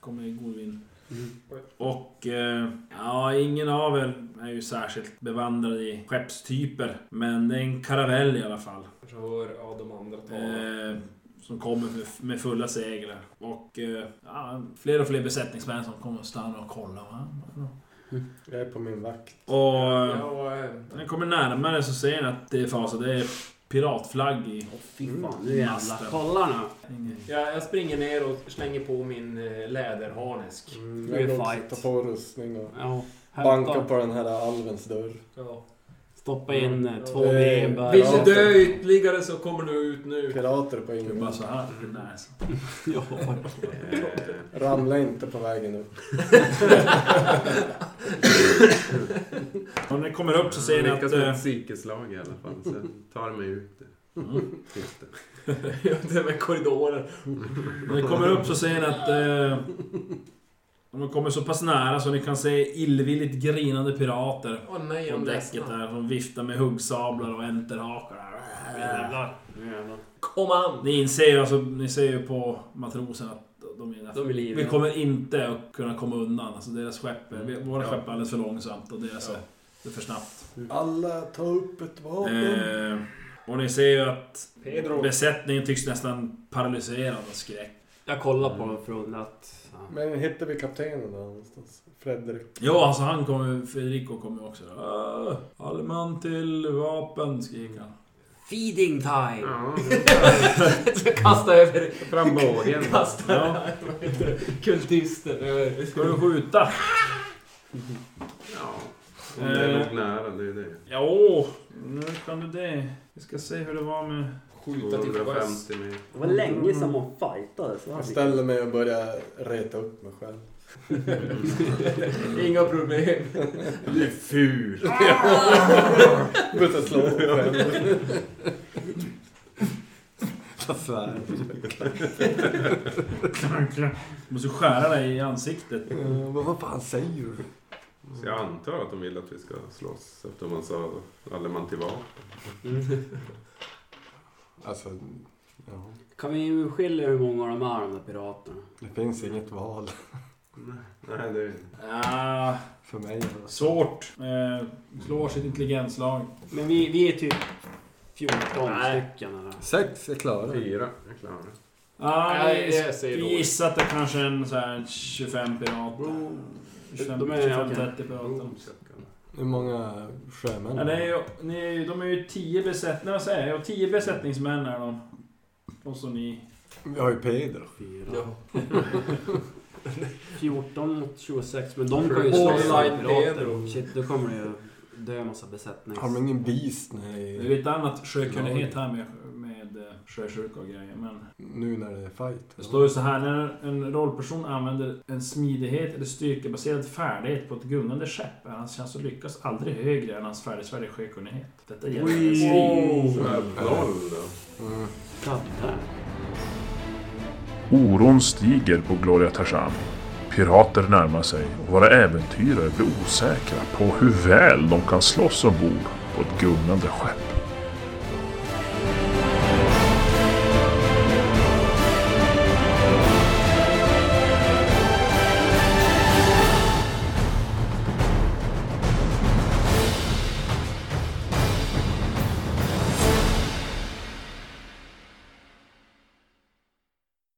[SPEAKER 2] Kommer i god vind.
[SPEAKER 3] Mm.
[SPEAKER 2] Och eh, ja, ingen av er är ju särskilt bevandrad i skeppstyper. Men det är en karavell i alla fall.
[SPEAKER 7] Så hör ja, de andra tala.
[SPEAKER 2] Eh, som kommer med- med fulla seglar. Och eh, ja, fler och fler besättningsmän som kommer att stanna och kolla. Va?
[SPEAKER 5] Jag är på min vakt.
[SPEAKER 2] Och eh,
[SPEAKER 7] Ja, eh,
[SPEAKER 2] när ni kommer närmare så ser ni att det är fasa. Det är piratflagg i
[SPEAKER 3] Åh fy fan, nu jävlar.
[SPEAKER 2] Masten.
[SPEAKER 3] Kolla nu.
[SPEAKER 7] ja, jag springer ner och slänger på min eh, läderharnesk.
[SPEAKER 5] Mm,
[SPEAKER 3] Nu är
[SPEAKER 5] jag vill också
[SPEAKER 3] fight.
[SPEAKER 5] ta på rustning och
[SPEAKER 3] Ja. Här
[SPEAKER 5] banka
[SPEAKER 3] står-
[SPEAKER 5] på den här alvens dörr.
[SPEAKER 7] Ja.
[SPEAKER 3] Stoppa in eh, två
[SPEAKER 5] Eh,
[SPEAKER 3] vinbär.
[SPEAKER 7] Vill
[SPEAKER 5] Pirater.
[SPEAKER 7] du dö ytterligare så kommer du ut nu.
[SPEAKER 5] Pirater på
[SPEAKER 2] Det är bara
[SPEAKER 5] ingen.
[SPEAKER 2] så här. Det är nice.
[SPEAKER 3] Ja.
[SPEAKER 9] Eh,
[SPEAKER 5] Ramla inte på vägen upp.
[SPEAKER 2] Och när ni kommer upp så ser ni
[SPEAKER 9] Jag
[SPEAKER 2] att...
[SPEAKER 9] lyckas med
[SPEAKER 2] Eh,
[SPEAKER 9] ett psykeslag i alla fall. Sen tar jag mig ut där. Just det.
[SPEAKER 7] Det är med korridoren.
[SPEAKER 2] När ni kommer upp så ser ni att... Eh, de kommer så pass nära så ni kan se illvilligt grinande pirater
[SPEAKER 7] Åh
[SPEAKER 2] på
[SPEAKER 7] nej, jag
[SPEAKER 2] däcket
[SPEAKER 7] ledsnar.
[SPEAKER 2] där. Som viftar med huggsablar och enterhakar.
[SPEAKER 3] Jävlar. Nu jävlar.
[SPEAKER 7] Kom an!
[SPEAKER 2] Ni inser ju, alltså, ni ser ju på matrosen att de är
[SPEAKER 3] De är
[SPEAKER 2] Vi
[SPEAKER 3] livrädda.
[SPEAKER 2] kommer inte att kunna komma undan. Alltså deras skepp, är-
[SPEAKER 7] Mm.
[SPEAKER 2] våra
[SPEAKER 7] Ja.
[SPEAKER 2] skepp är alldeles för långsamt och deras
[SPEAKER 7] Ja.
[SPEAKER 2] är det är för snabbt.
[SPEAKER 5] Alla ta upp ett vapen.
[SPEAKER 2] Eh, och ni ser ju att
[SPEAKER 7] Pedro.
[SPEAKER 2] besättningen tycks nästan paralyserad av skräck.
[SPEAKER 3] Jag kollar på dem från att... Ja.
[SPEAKER 5] Men hittar vi kaptenen då någonstans? Fredrik.
[SPEAKER 2] Ja, alltså han kommer, Federico kommer också. Äh, Allman till vapen, skriker han.
[SPEAKER 3] Feeding time!
[SPEAKER 9] Ja,
[SPEAKER 8] Kasta över
[SPEAKER 9] fram bågen.
[SPEAKER 8] kasta kultisten över.
[SPEAKER 2] Ska du skjuta?
[SPEAKER 9] Ja,
[SPEAKER 7] Eh.
[SPEAKER 9] om det är nog nära, det är det.
[SPEAKER 2] Eh, Ja, åh, nu kan du det. Vi ska se hur det var med...
[SPEAKER 7] Skjuta till sjöss.
[SPEAKER 9] 250 meter.
[SPEAKER 3] Det var länge sedan man fightades. va?
[SPEAKER 5] Jag ställer mig och börjar reta upp mig själv.
[SPEAKER 8] Inga problem.
[SPEAKER 5] Du är ful!
[SPEAKER 3] Ah!
[SPEAKER 5] Börjar slå mig själv. Jag svär.
[SPEAKER 2] Du måste skära dig i ansiktet.
[SPEAKER 5] Eh, Vad vad fan säger du?
[SPEAKER 9] Så jag antar att de vill att vi ska slåss efter man sa alle man till vapen.
[SPEAKER 3] Mm.
[SPEAKER 5] Alltså, ja.
[SPEAKER 3] Kan vi urskilja hur många de är de där piraterna?
[SPEAKER 5] Det finns inget val
[SPEAKER 9] Nej, det är...
[SPEAKER 2] Ah,
[SPEAKER 5] för mig.
[SPEAKER 2] svårt. Eh, slår sitt intelligenslag.
[SPEAKER 3] Men vi, vi är typ 14
[SPEAKER 7] Nej.
[SPEAKER 3] stycken eller?
[SPEAKER 5] Sex är klara.
[SPEAKER 9] Fyra, jag klarar det.
[SPEAKER 2] Ah,
[SPEAKER 7] Nej,
[SPEAKER 2] jag
[SPEAKER 7] jag säger dåligt.
[SPEAKER 2] gissar att det kanske är en så här 25 pirater.
[SPEAKER 3] De är- okej.
[SPEAKER 2] 25-30 pirater.
[SPEAKER 5] Hur många sjömän?
[SPEAKER 2] Ja, det är ju, ni är ju, de är ju 10 besättningar, vad säger jag? 10 besättningsmän är de. Och så ni.
[SPEAKER 5] Vi har ju Pedro.
[SPEAKER 3] Fyra.
[SPEAKER 8] Ja.
[SPEAKER 3] 14 mot 26, men de kan ju slå
[SPEAKER 7] Online
[SPEAKER 3] sig pirater.
[SPEAKER 7] Pedro.
[SPEAKER 3] Shit, då kommer det ju dö en massa besättnings...
[SPEAKER 5] Har de ingen beast
[SPEAKER 2] Det
[SPEAKER 5] nej,
[SPEAKER 2] är lite annat sjökunnighet här med, med eh, sjösjuka och grejer. Men
[SPEAKER 5] nu när det är fight?
[SPEAKER 2] det står ju så här när en rollperson använder en smidighet eller styrkebaserad färdighet på ett gungande skepp är hans chans att lyckas aldrig högre än hans färdigsvärdiga sjökunnighet. Detta gäller.
[SPEAKER 9] Noll då.
[SPEAKER 5] Mm.
[SPEAKER 3] Katter.
[SPEAKER 1] Oron stiger på Gloria Tarzan. Pirater närmar sig och våra äventyrare blir osäkra på hur väl de kan slåss ombord på ett gungande skepp.